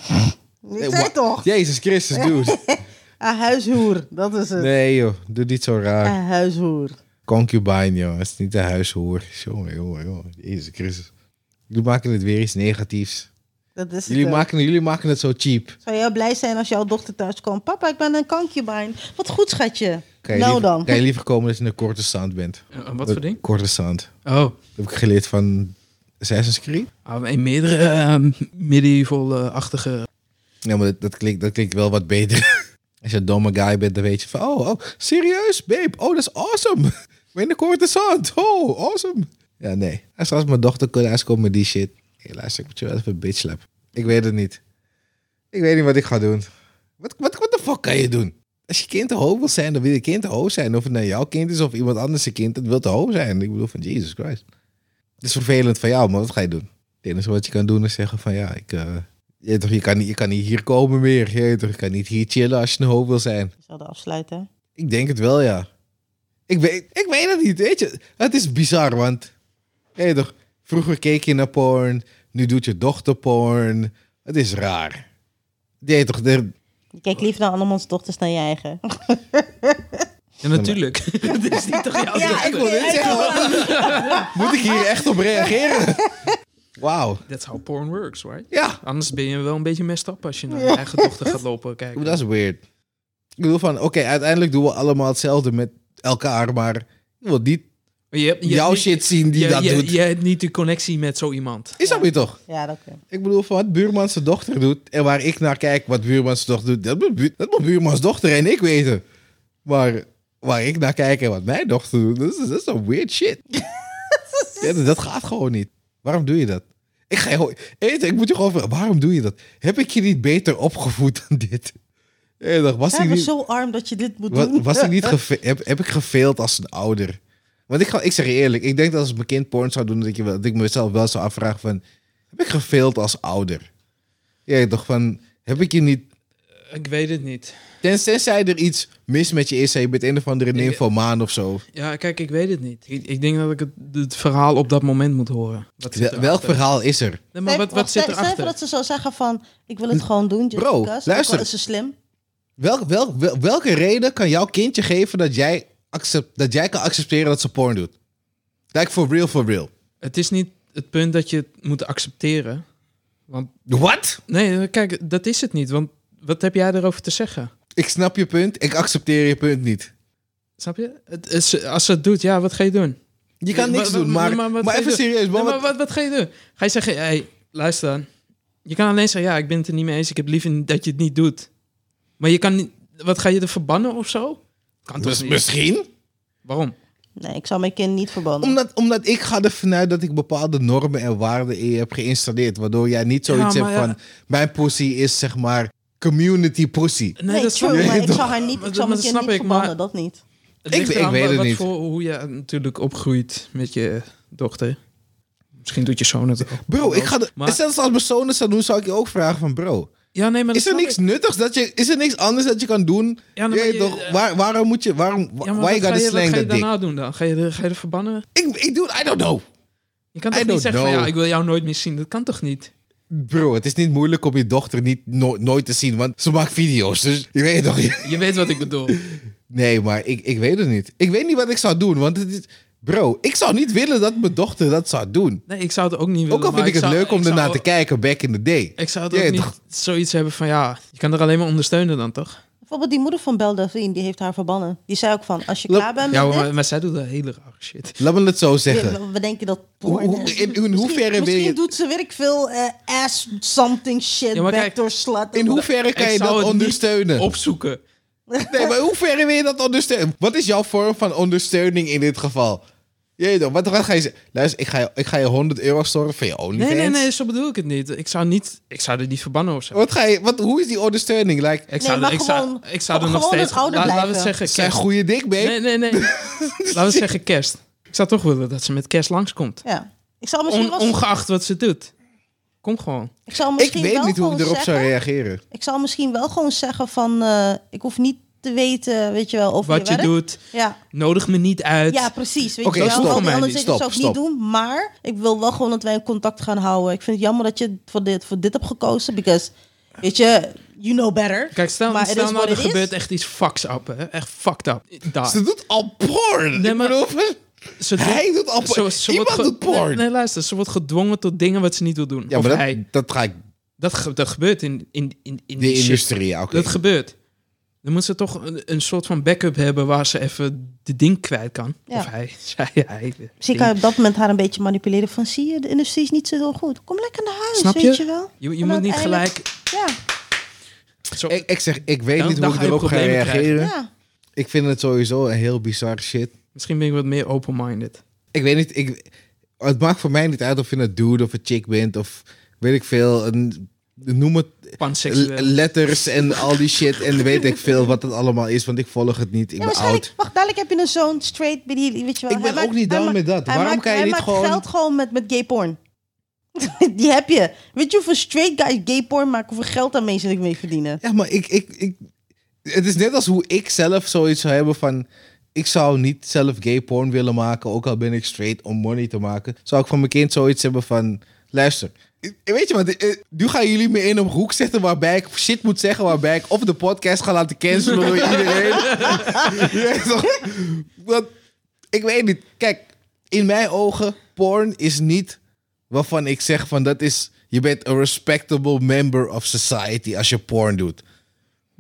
Speaker 2: Nee,
Speaker 1: zei
Speaker 2: wa-
Speaker 1: toch?
Speaker 2: Jezus Christus, dude.
Speaker 1: A huishoer, dat is het.
Speaker 2: Nee, joh. Doe niet zo raar.
Speaker 1: A huishoer.
Speaker 2: Concubine, joh. Het is niet de huishoer. Jongen, jongen, jongen. Jezus Christus. Jullie maken het weer iets negatiefs.
Speaker 1: Dat is
Speaker 2: Jullie
Speaker 1: het. ook.
Speaker 2: maken, jullie maken het zo cheap.
Speaker 1: Zou jij blij zijn als jouw dochter thuis komt? Papa, ik ben een concubine. Wat goed, schatje.
Speaker 2: Kan
Speaker 1: Nou
Speaker 2: je, liever,
Speaker 1: dan.
Speaker 2: kan je liever komen dat je een korte sound bent?
Speaker 3: Eh, wat voor ding?
Speaker 2: Korte sound.
Speaker 3: Oh,
Speaker 2: Dat heb ik geleerd van Assassin's Creed.
Speaker 3: ah, een meerdere eh, medieval-achtige...
Speaker 2: Ja, maar dat, dat, klinkt, dat klinkt wel wat beter. Als je een domme guy bent, dan weet je van... Oh, oh serieus, babe? Oh, dat is awesome. Binnenkort de zand. Oh, awesome. Ja, nee. Als, als mijn dochter kon uitkomen met die shit. Hé, luister, ik moet je wel even bitch slap. Ik weet het niet. Ik weet niet wat ik ga doen. Wat, wat, wat de fuck kan je doen? Als je kind te hoog wil zijn, dan wil je kind te hoog zijn. Of het nou jouw kind is of iemand anders zijn kind, dat wil te hoog zijn. Ik bedoel van, Jesus Christ. Het is vervelend van jou, maar wat ga je doen? Het enige wat je kan doen is zeggen van, ja, ik... eh, je, weet toch, je, kan niet, je kan niet hier komen meer. Je, weet toch, je kan niet hier chillen als je een hoop wil zijn.
Speaker 1: Ik zal dat afsluiten.
Speaker 2: Ik denk het wel, ja. Ik weet, ik weet het niet, weet je. Het is bizar, want... Je weet toch, vroeger keek je naar porn. Nu doet je dochter porn. Het is raar. Je weet toch, er-
Speaker 1: Je kijkt liever naar andermans dochters dan je eigen.
Speaker 3: Ja, natuurlijk. Het is niet toch jouw
Speaker 1: Ja, ik
Speaker 2: ik wil
Speaker 3: dochter?
Speaker 2: dit zeggen. wat- Moet ik hier echt op reageren? Wauw.
Speaker 3: That's how porn works, right?
Speaker 2: Ja,
Speaker 3: Anders ben je wel een beetje messed up als je naar je eigen dochter gaat lopen
Speaker 2: Ik
Speaker 3: kijken.
Speaker 2: bedoel, dat is weird. Ik bedoel van, oké, uiteindelijk doen we allemaal hetzelfde met elkaar, maar je wilt niet
Speaker 3: Maar je hebt- je hebt
Speaker 2: jouw
Speaker 3: niet-
Speaker 2: shit zien die
Speaker 3: je,
Speaker 2: dat
Speaker 3: je-
Speaker 2: doet.
Speaker 3: je hebt niet de connectie met zo iemand.
Speaker 2: Is dat weer toch?
Speaker 1: Ja, dat kan.
Speaker 2: Ik bedoel, van wat Buurmans dochter doet en waar ik naar kijk wat Buurmans dochter doet, dat moet, Bu- dat moet Buurmans dochter en ik weten. Maar waar ik naar kijk en wat mijn dochter doet, dat is, dat is een weird shit. Ja, dat gaat gewoon niet. Waarom doe je dat? Ik, ga je, gewoon- Eet, ik moet je gewoon vragen, waarom doe je dat? Heb ik je niet beter opgevoed dan dit? Eh, dacht, was
Speaker 1: Hij
Speaker 2: ik
Speaker 1: was
Speaker 2: niet,
Speaker 1: zo arm dat je dit moet
Speaker 2: wa-
Speaker 1: doen.
Speaker 2: was ik niet geve- heb, heb ik gefaild als een ouder? Want ik, ga, ik zeg je eerlijk, ik denk dat als mijn kind porn zou doen, dat ik, je wel- dat ik mezelf wel zou afvragen van... Heb ik gefaild als ouder? Ja, toch van, heb ik je niet...
Speaker 3: Ik weet het niet.
Speaker 2: Tens, tenzij er iets mis met je is en je bent een of andere
Speaker 3: Ja.
Speaker 2: nymphomaan of zo.
Speaker 3: Ja, kijk, ik weet het niet. Ik, ik denk dat ik het, het verhaal op dat moment moet horen. Wat
Speaker 2: Wel-
Speaker 3: zit erachter?
Speaker 2: welk verhaal is er?
Speaker 3: Nee, maar wat, wat
Speaker 1: Stel-
Speaker 3: zit
Speaker 1: stel even
Speaker 3: erachter?
Speaker 1: dat ze zou zeggen van, ik wil het gewoon doen. just
Speaker 2: Bro,
Speaker 1: because.
Speaker 2: luister.
Speaker 1: Ook al is ze slim.
Speaker 2: Welk, welk, wel- welke reden kan jouw kindje geven dat jij, accept, dat jij kan accepteren dat ze porn doet? Like for real, for real.
Speaker 3: Het is niet het punt dat je het moet accepteren.
Speaker 2: Wat?
Speaker 3: Nee, eh, kijk, dat is het niet. Want wat heb jij erover te zeggen?
Speaker 2: Ik snap je punt, ik accepteer je punt niet.
Speaker 3: Snap je? Het is, als ze het doet, ja, wat ga je doen?
Speaker 2: Je kan
Speaker 3: Nee,
Speaker 2: niks
Speaker 3: wa- wa-
Speaker 2: doen, maar, maar,
Speaker 3: wat ga je
Speaker 2: even
Speaker 3: doen?
Speaker 2: serieus.
Speaker 3: Nee,
Speaker 2: Man,
Speaker 3: maar wat, wat ga je doen? Ga je zeggen, hey, luister dan. Je kan alleen zeggen, ja, ik ben het er niet mee eens. Ik heb liever dat je het niet doet. Maar je kan niet... Wat, ga je er verbannen of zo? Kan toch
Speaker 2: mis-
Speaker 3: niet?
Speaker 2: misschien?
Speaker 3: Waarom?
Speaker 1: Nee, ik zou mijn kind niet verbannen.
Speaker 2: Omdat, omdat ik ga ervan uit dat ik bepaalde normen en waarden in je heb geïnstalleerd. Waardoor jij niet zoiets
Speaker 3: Ja, maar
Speaker 2: hebt van...
Speaker 3: ja.
Speaker 2: Mijn pussy is zeg maar community pussy.
Speaker 3: Nee,
Speaker 1: Nee,
Speaker 3: dat snap
Speaker 1: true,
Speaker 3: ik.
Speaker 1: maar ik
Speaker 2: toch?
Speaker 1: zou haar niet,
Speaker 3: Maar
Speaker 1: ik
Speaker 3: dat-
Speaker 1: zou
Speaker 3: maar
Speaker 1: mijn
Speaker 3: dat
Speaker 1: kind
Speaker 3: snap
Speaker 1: niet
Speaker 3: ik, maar-
Speaker 1: verbannen, dat niet.
Speaker 3: Het ligt
Speaker 2: ik
Speaker 3: eraan
Speaker 2: weet
Speaker 3: wa-
Speaker 2: het
Speaker 3: wat
Speaker 2: niet.
Speaker 3: Voor, hoe je natuurlijk opgroeit met je dochter. Misschien doet je zoon het ook.
Speaker 2: Bro, ik ga... de-
Speaker 3: Maar-
Speaker 2: Zelfs als mijn zoon het zou doen, zou ik je ook vragen van... Bro,
Speaker 3: Ja, nee, maar dat
Speaker 2: Is er
Speaker 3: snap
Speaker 2: niks
Speaker 3: ik.
Speaker 2: nuttigs dat je, is er niks anders dat je kan doen?
Speaker 3: Ja,
Speaker 2: Je
Speaker 3: nee, maar
Speaker 2: weet
Speaker 3: je-
Speaker 2: toch,
Speaker 3: eh,
Speaker 2: waar, waarom moet je, waarom,
Speaker 3: Ja, maar
Speaker 2: why
Speaker 3: wat
Speaker 2: you
Speaker 3: ga
Speaker 2: gotta
Speaker 3: je, wat
Speaker 2: slang
Speaker 3: ga je
Speaker 2: that dick?
Speaker 3: daarna doen dan? Ga je, er- ga je er verbannen?
Speaker 2: Ik, ik doe, I don't know.
Speaker 3: Je kan
Speaker 2: I
Speaker 3: toch niet
Speaker 2: don't
Speaker 3: zeggen van,
Speaker 2: know.
Speaker 3: ja, ik wil jou nooit meer zien. Dat kan toch niet?
Speaker 2: Bro, het is niet moeilijk om je dochter niet, no- nooit te zien, want ze maakt video's, dus je weet toch.
Speaker 3: Je weet wat ik bedoel.
Speaker 2: Nee, maar ik, ik weet het niet. Ik weet niet wat ik zou doen, want het is, bro, ik zou niet willen dat mijn dochter dat zou doen.
Speaker 3: Nee, ik zou het ook niet willen.
Speaker 2: Ook al
Speaker 3: maar
Speaker 2: vind ik het
Speaker 3: zou-
Speaker 2: leuk om
Speaker 3: ik zou-
Speaker 2: ernaar te kijken back in the day.
Speaker 3: Ik zou het
Speaker 2: Ja,
Speaker 3: ook niet
Speaker 2: toch?
Speaker 3: zoiets hebben van, ja, je kan er alleen maar ondersteunen dan, toch?
Speaker 1: Bijvoorbeeld die moeder van Belle Delphine, die heeft haar verbannen. Die zei ook van, als je
Speaker 2: Lop-
Speaker 1: klaar bent
Speaker 3: Ja,
Speaker 1: met
Speaker 3: maar,
Speaker 1: dit,
Speaker 3: maar zij doet dat hele rare shit.
Speaker 2: Laat me het zo zeggen.
Speaker 1: we- we denken dat...
Speaker 2: Hoe- hoe- in- in
Speaker 1: Misschien-
Speaker 2: hoeverre wil
Speaker 1: misschien
Speaker 2: je-
Speaker 1: doet ze, weet ik veel, eh, ass something shit,
Speaker 3: Ja, maar kijk,
Speaker 1: backdoor slut.
Speaker 2: In hoeverre kan
Speaker 3: Ik
Speaker 2: je
Speaker 3: zou
Speaker 2: dat
Speaker 3: het niet
Speaker 2: ondersteunen?
Speaker 3: Opzoeken.
Speaker 2: Nee, maar in hoeverre wil je dat ondersteunen? Wat is jouw vorm van ondersteuning in dit geval? Jeetje, toch, wat, wat ga je zeggen? Luister, ik ga je, ik ga je 100 euro storen van je OnlyFans.
Speaker 3: Nee, nee, nee, zo bedoel ik het niet. Ik zou, niet, ik zou er niet verbannen of zo.
Speaker 2: Wat ga je, wat, hoe is die ondersteuning? Like,
Speaker 3: Ik
Speaker 1: Nee,
Speaker 3: zou,
Speaker 1: maar
Speaker 3: ik
Speaker 1: gewoon-
Speaker 3: zou, ik zou er
Speaker 1: gewoon
Speaker 3: nog steeds...
Speaker 1: een ouder
Speaker 3: laat- Laten we
Speaker 1: blijven.
Speaker 3: zeggen,
Speaker 2: zijn
Speaker 3: kerst.
Speaker 2: goede dik, babe?
Speaker 3: Nee, nee, nee. laten we zeggen kerst. Ik zou toch willen dat ze met kerst langskomt.
Speaker 1: Ja. Ik zou misschien,
Speaker 3: On,
Speaker 1: wel,
Speaker 3: ongeacht wat ze doet. Kom gewoon.
Speaker 1: ik zou
Speaker 2: ik
Speaker 1: misschien
Speaker 2: weet
Speaker 1: wel
Speaker 2: niet hoe ik
Speaker 1: gewoon
Speaker 2: erop zou
Speaker 1: zeggen-
Speaker 2: reageren.
Speaker 1: Ik zou misschien wel gewoon zeggen van, eh, ik hoef niet te weten, weet je wel, over
Speaker 3: Wat je
Speaker 1: werk.
Speaker 3: doet,
Speaker 1: Ja.
Speaker 3: nodig me niet uit.
Speaker 1: Ja, precies. Weet
Speaker 2: Oké,
Speaker 1: je wel,
Speaker 2: stop.
Speaker 1: al
Speaker 3: Voor
Speaker 1: die
Speaker 3: mij
Speaker 1: andere
Speaker 2: niet.
Speaker 1: dingen zou ik
Speaker 2: Stop,
Speaker 1: niet doen. Maar ik wil wel gewoon dat wij in contact gaan houden. Ik vind het jammer dat je voor dit, voor dit hebt gekozen. Because, weet je, you know better.
Speaker 3: Kijk, stel,
Speaker 1: Maar it
Speaker 3: stel
Speaker 1: is
Speaker 3: nou,
Speaker 1: what
Speaker 3: er
Speaker 1: it is.
Speaker 3: gebeurt echt iets fucks up, hè. Echt fucked up. Daar.
Speaker 2: Ze doet al porn.
Speaker 3: Nee,
Speaker 2: Ik
Speaker 3: maar-
Speaker 2: bedoel,
Speaker 3: Ze doet-
Speaker 2: hij doet al porn.
Speaker 3: ze- ze wordt
Speaker 2: Iemand
Speaker 3: ge-
Speaker 2: doet porn.
Speaker 3: Nee, nee, luister. Ze wordt gedwongen tot dingen wat ze niet wil doen.
Speaker 2: Ja,
Speaker 3: of
Speaker 2: maar
Speaker 3: hij.
Speaker 2: dat, dat ga ik...
Speaker 3: Dat, ge- dat gebeurt in, in, in, in
Speaker 2: De
Speaker 3: die shit.
Speaker 2: industrie, ja, oké.
Speaker 3: Dat gebeurt. Dan moet ze toch een, een soort van backup hebben waar ze even de ding kwijt kan.
Speaker 1: Ja.
Speaker 3: Of hij, zij, hij. de
Speaker 1: Misschien kan
Speaker 3: ding.
Speaker 1: je op dat moment haar een beetje manipuleren van... zie je, de industrie is niet zo heel goed. Kom lekker naar huis,
Speaker 3: Snap
Speaker 1: weet
Speaker 3: je?
Speaker 1: je wel.
Speaker 3: Je, je
Speaker 1: En
Speaker 3: moet niet
Speaker 1: uiteindelijk-
Speaker 3: gelijk...
Speaker 1: Ja,
Speaker 3: Zo,
Speaker 2: Ik, ik zeg, ik weet
Speaker 3: Dan-
Speaker 2: niet
Speaker 3: dan
Speaker 2: hoe ik
Speaker 3: ga je
Speaker 2: erop ga
Speaker 3: problemen
Speaker 2: reageren.
Speaker 3: krijgen.
Speaker 1: ja.
Speaker 2: Ik vind het sowieso een heel bizar shit.
Speaker 3: Misschien ben ik wat meer open-minded.
Speaker 2: Ik weet niet, ik, het maakt voor mij niet uit of je een dude of een chick bent of weet ik veel. Een, noem het
Speaker 3: Panseksueel.
Speaker 2: l- letters en al die shit en weet ik veel wat het allemaal is, want ik volg het niet. Ik
Speaker 1: ja
Speaker 2: ben
Speaker 1: waarschijnlijk...
Speaker 2: oud.
Speaker 1: Wacht, dadelijk heb je een zoon straight bij die... Weet je wel.
Speaker 2: Ik ben
Speaker 1: Hij
Speaker 2: ook niet
Speaker 1: hij
Speaker 2: down
Speaker 1: maakt-
Speaker 2: met dat.
Speaker 1: hij
Speaker 2: Waarom
Speaker 1: maakt-
Speaker 2: kan je
Speaker 1: hij
Speaker 2: niet
Speaker 1: maakt
Speaker 2: gewoon-
Speaker 1: geld gewoon met, met gay porn. die heb je. Weet je hoeveel straight guys gay porn maken? Hoeveel geld daarmee zit ik mee verdienen?
Speaker 2: Ja, maar ik, ik, ik, het is net als hoe ik zelf zoiets zou hebben van. Ik zou niet zelf gay porn willen maken, ook al ben ik straight om money te maken. Zou ik van mijn kind zoiets hebben van, luister, eh, weet je wat, eh, nu gaan jullie me in een hoek zetten waarbij ik shit moet zeggen, waarbij ik of de podcast ga laten cancelen door iedereen. Je weet toch? Want, ik weet niet, kijk, in mijn ogen, porn is niet waarvan ik zeg van dat is, je bent een respectable member of society als je porn doet.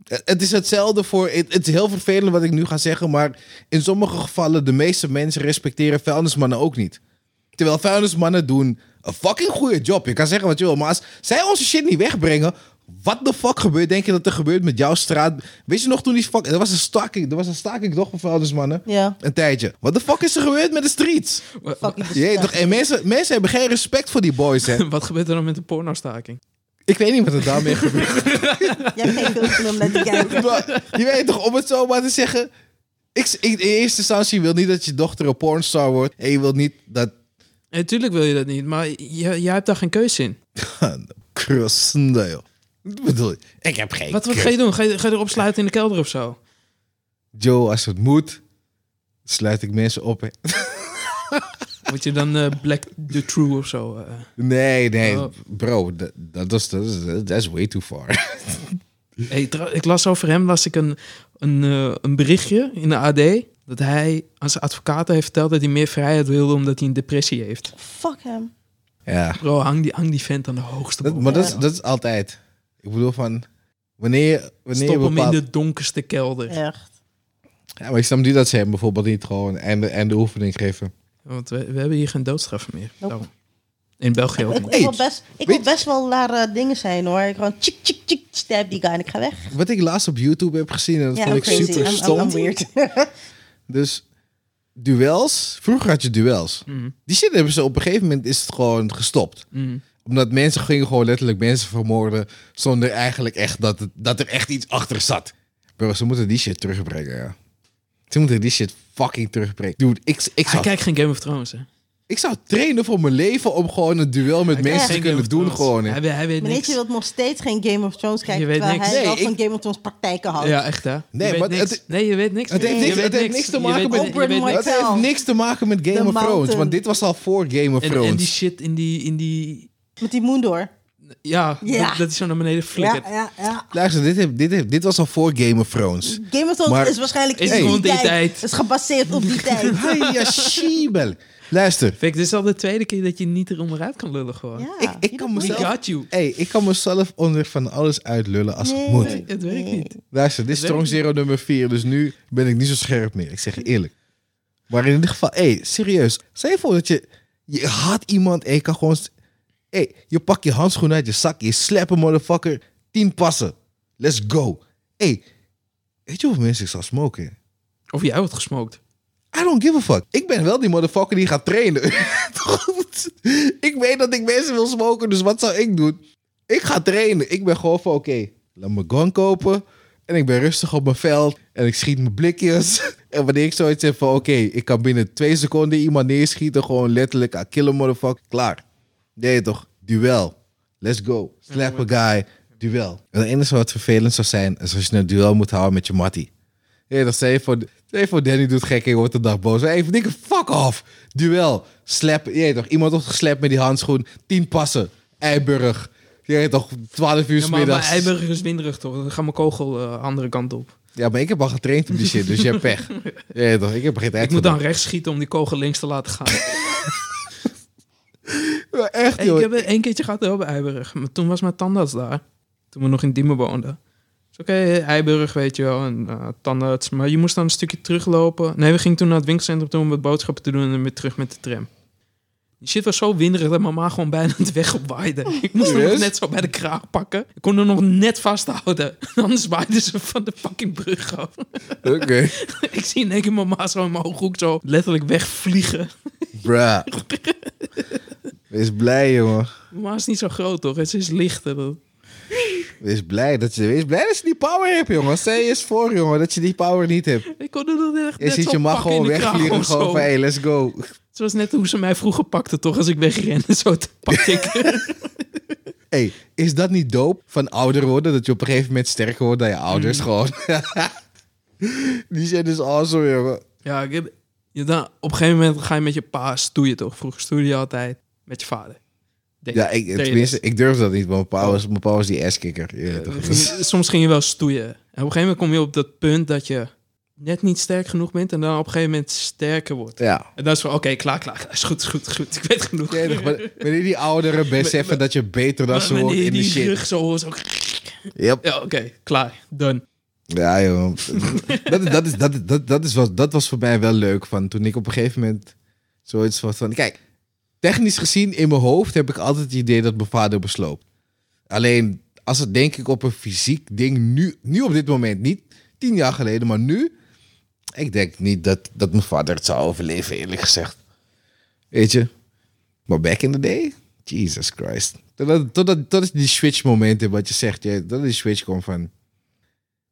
Speaker 2: Het het is hetzelfde voor. Het, het is heel vervelend wat ik nu ga zeggen, maar in sommige gevallen, de meeste mensen respecteren vuilnismannen ook niet. Terwijl vuilnismannen doen een fucking goede job. Je kan zeggen wat je wil, maar als zij onze shit niet wegbrengen, wat de fuck gebeurt? Denk je dat er gebeurt met jouw straat? Weet je nog toen die fuck. Er was een staking, er was een staking toch van vuilnismannen?
Speaker 1: Ja.
Speaker 2: Een tijdje. Wat de fuck is er gebeurd met de streets?
Speaker 3: Wa- wa-
Speaker 1: Fucking
Speaker 2: Jee, toch? En mensen, mensen hebben geen respect voor die boys, hè?
Speaker 3: Wat gebeurt er dan met de pornostaking?
Speaker 2: Ik weet niet wat er daarmee gebeurt.
Speaker 1: Jij geen filmpje om naar te kijken.
Speaker 2: Maar je weet toch, om het zo maar te zeggen. Ik, ik, in eerste instantie wil niet dat je dochter een pornstar wordt. En je wilt niet dat.
Speaker 3: Natuurlijk wil je dat niet, maar je, jij hebt daar geen keus in.
Speaker 2: Krussende, joh. Wat bedoel je? Ik heb geen.
Speaker 3: Wat, wat
Speaker 2: kut.
Speaker 3: ga je doen? Ga je, ga je erop sluiten in de kelder of zo?
Speaker 2: Joe, als het moet, sluit ik mensen op. hè.
Speaker 3: Moet je dan eh, Black the True of zo? eh?
Speaker 2: Nee, nee,
Speaker 3: Oh.
Speaker 2: bro, dat, dat is dat is- dat is way too far.
Speaker 3: Hey, trouw- ik las over hem las ik een, een, eh, een berichtje in de AD. Dat hij aan zijn advocaten heeft verteld dat hij meer vrijheid wilde omdat hij een depressie heeft.
Speaker 1: Fuck hem.
Speaker 2: Ja,
Speaker 3: Bro, hang die, hang die vent aan de hoogste
Speaker 2: dat,
Speaker 3: boom.
Speaker 2: maar dat is, dat is altijd. Ik bedoel van. Wanneer, je- wanneer je
Speaker 3: Stop hem in
Speaker 2: bepaalt-
Speaker 3: de donkerste kelder.
Speaker 1: Echt.
Speaker 2: Ja, maar ik snap niet dat ze hem bijvoorbeeld niet gewoon en de, en de oefening geven.
Speaker 3: Want we, we hebben hier geen doodstraf meer.
Speaker 1: Nope.
Speaker 3: Daarom. In België ook
Speaker 1: Ik,
Speaker 3: niet.
Speaker 1: ik wil
Speaker 2: Hey,
Speaker 1: best, ik
Speaker 2: weet-
Speaker 1: wil best wel naar eh, dingen zijn hoor. Ik gewoon chik, chik, chik, stab die guy en ik ga weg.
Speaker 2: Wat ik laatst op YouTube heb gezien, en dat
Speaker 1: Ja,
Speaker 2: vond ik
Speaker 1: crazy.
Speaker 2: super
Speaker 1: I'm- I'm-
Speaker 2: stom.
Speaker 1: I'm weird.
Speaker 2: Dus duels, vroeger had je duels.
Speaker 3: Mm,
Speaker 2: Die shit hebben ze op een gegeven moment is het gewoon gestopt.
Speaker 3: mm.
Speaker 2: Omdat mensen gingen gewoon letterlijk mensen vermoorden zonder eigenlijk echt dat, het, dat er echt iets achter zat. Bro, ze moeten die shit terugbrengen, ja. Ze moeten die shit fucking terugbrengen. Dude, ik, ik,
Speaker 3: Hij
Speaker 2: zou,
Speaker 3: kijkt geen Game of Thrones, hè?
Speaker 2: ik zou trainen voor mijn leven om gewoon een duel met
Speaker 3: Hij kijkt
Speaker 2: mensen te
Speaker 3: geen
Speaker 2: kunnen
Speaker 3: Game of
Speaker 2: doen.
Speaker 3: Thrones.
Speaker 2: Gewoon, hè.
Speaker 3: Hij, weet- hij weet niks.
Speaker 1: Meneertje wil nog steeds geen Game of Thrones kijken.
Speaker 3: Je weet
Speaker 1: terwijl
Speaker 3: niks.
Speaker 1: hij
Speaker 2: Nee,
Speaker 1: wel
Speaker 2: ik-
Speaker 1: van Game of Thrones praktijken houdt.
Speaker 3: Ja, echt hè? Je
Speaker 2: Nee,
Speaker 3: weet
Speaker 2: maar
Speaker 3: niks.
Speaker 2: het-
Speaker 3: nee, je weet niks.
Speaker 2: het heeft
Speaker 3: Je
Speaker 2: niks-
Speaker 3: weet
Speaker 2: het heeft niks te
Speaker 3: Je
Speaker 2: maken
Speaker 3: weet-
Speaker 1: met-
Speaker 3: je weet
Speaker 1: Open
Speaker 2: Dat
Speaker 3: niks.
Speaker 2: heeft niks te maken met Game
Speaker 1: The
Speaker 2: of Thrones,
Speaker 1: Mountain.
Speaker 2: want dit was al voor Game of
Speaker 3: En,
Speaker 2: Thrones.
Speaker 3: en die shit in die... In die
Speaker 1: Met die Moondor.
Speaker 3: ja,
Speaker 1: Ja.
Speaker 3: Dat, dat is zo naar beneden
Speaker 1: Ja,
Speaker 3: flikkert.
Speaker 1: ja, ja.
Speaker 2: Luister, dit, heeft, dit, heeft, dit was al voor Game of Thrones.
Speaker 1: Game of Thrones
Speaker 2: Maar-
Speaker 1: is waarschijnlijk
Speaker 3: Is
Speaker 1: in die
Speaker 3: gewoon die
Speaker 1: tijd.
Speaker 3: tijd.
Speaker 1: Het is gebaseerd op die tijd.
Speaker 2: Hiya, Schiebel. Luister,
Speaker 3: Fik, dit is al de tweede keer dat je niet erom eruit kan lullen gewoon.
Speaker 1: Ja,
Speaker 2: ik, ik kan
Speaker 3: We
Speaker 2: mezelf...
Speaker 3: got you.
Speaker 2: Hey, ik kan mezelf onder van alles uitlullen als het moet.
Speaker 3: Nee, het werkt niet.
Speaker 2: Luister, dit is
Speaker 3: Dat weet
Speaker 2: Strong
Speaker 3: ik
Speaker 2: Zero nummer 4, dus nu ben ik niet zo scherp meer. Ik zeg je eerlijk. Maar in ieder geval, hé, serieus. Stel je voor dat je... Je had iemand en je kan gewoon... Hé, je pakt je handschoen uit je zak, je slap een motherfucker. Tien passen. Let's go. Hé, weet je hoeveel mensen ik zal smoken?
Speaker 3: Of jij wordt gesmokt.
Speaker 2: I don't give a fuck. Ik ben wel die motherfucker die gaat trainen. ik weet dat ik mensen wil smoken, dus wat zou ik doen? Ik ga trainen. Ik ben gewoon van, oké, laat me gun kopen. En ik ben rustig op mijn veld. En ik schiet mijn blikjes. en wanneer ik zoiets heb van, oké, ik kan binnen twee seconden iemand neerschieten. Gewoon letterlijk, I kill a motherfucker. Klaar. Nee toch, duel. Let's go. Slap a guy. Duel. En het enige wat vervelend zou zijn, is als je een duel moet houden met je mattie. Ja, dat zei je voor, zei je voor Danny doet gek en je wordt de dag boos. Even dikke fuck off. Duel. Slap. Je weet toch, iemand wordt geslapt met die handschoen. Tien passen. Eiburg. Je weet toch, 12 uur
Speaker 3: Ja, maar bij
Speaker 2: smiddags.
Speaker 3: Eiburg is winderig toch? Dan gaat mijn kogel de andere kant op.
Speaker 2: Ja, maar ik heb al getraind op die shit, dus je hebt pech. Je weet toch, ik heb er geen tijd
Speaker 3: Ik moet
Speaker 2: voor.
Speaker 3: dan rechts schieten om die kogel links te laten gaan.
Speaker 2: Ja, echt,
Speaker 3: Hey, ik
Speaker 2: joh.
Speaker 3: heb het één keertje gehad wel bij Eiburg. Maar toen was mijn tandarts daar. Toen we nog in Diemen woonden. Dus oké, Eiburg, weet je wel. En eh, tandarts. Maar je moest dan een stukje teruglopen. Nee, we gingen toen naar het winkelcentrum toe om wat boodschappen te doen. En dan weer terug met de tram. Die shit was zo winderig dat mama gewoon bijna de weg op waaide. Ik moest hem nog
Speaker 2: Serieus?
Speaker 3: net zo bij de kraag pakken. Ik kon hem nog net vasthouden. Anders waaide ze van de fucking brug af.
Speaker 2: Oké.
Speaker 3: Ik zie in één keer mama zo in mijn ooghoek zo letterlijk wegvliegen.
Speaker 2: Bruh. Wees blij, jongen.
Speaker 3: Mama is niet zo groot, toch? Het is lichter. Dat-
Speaker 2: Wees blij dat je, wees blij dat je die power hebt, jongen. Stel je eens voor, jongen, dat je die power niet hebt.
Speaker 3: Ik kon er nog net,
Speaker 2: Je
Speaker 3: net
Speaker 2: ziet
Speaker 3: zo
Speaker 2: je mag
Speaker 3: pakken in
Speaker 2: gewoon
Speaker 3: de kraag
Speaker 2: wegvliegen.
Speaker 3: of zo.
Speaker 2: Gewoon van, hey, let's go.
Speaker 3: Het was net hoe ze mij vroeger pakte, toch? Als ik wegrende, zo te pak ik.
Speaker 2: Hey, is dat niet dope van ouder worden? Dat je op een gegeven moment sterker wordt dan je ouders
Speaker 3: Mm.
Speaker 2: gewoon. Die zijn dus awesome, jongen.
Speaker 3: ja, ik heb, je dan, op een gegeven moment ga je met je pa stoeien, toch? Vroeger stoeide je altijd met je vader. Denk
Speaker 2: Ja, ik,
Speaker 3: Deed je
Speaker 2: tenminste,
Speaker 3: dat?
Speaker 2: ik durf dat niet, want
Speaker 3: Oh.
Speaker 2: mijn pa was, mijn pa was die asskicker. Ja, toch?
Speaker 3: We gingen- soms Eh, ging je wel stoeien. En op een gegeven moment kom je op dat punt dat je net niet sterk genoeg bent... en dan op een gegeven moment sterker wordt.
Speaker 2: Ja.
Speaker 3: En dan is van, oké, klaar, klaar. Is goed, is goed, is goed. Ik weet genoeg.
Speaker 2: Ja, toch, maar- Wanneer die ouderen beseffen dat je beter dan ze
Speaker 3: Maar
Speaker 2: wordt
Speaker 3: wanneer
Speaker 2: in de
Speaker 3: die
Speaker 2: shit.
Speaker 3: rug zo... zo
Speaker 2: Yep.
Speaker 3: ja, oké, klaar. Done.
Speaker 2: Ja, joh. dat, dat, is, dat, dat, dat, is, wat- dat was voor mij wel leuk. Van, toen ik op een gegeven moment zoiets was van... Kijk, technisch gezien in mijn hoofd heb ik altijd het idee dat mijn vader besloopt. Alleen, als het denk ik op een fysiek ding nu... Nu op dit moment, niet tien jaar geleden, maar nu... Ik denk niet dat, dat mijn vader het zou overleven, eerlijk gezegd. Weet je? Maar back in the day? Jesus Christ. Totdat, totdat, totdat je die switch momenten wat je zegt. Je, dat die switch komt van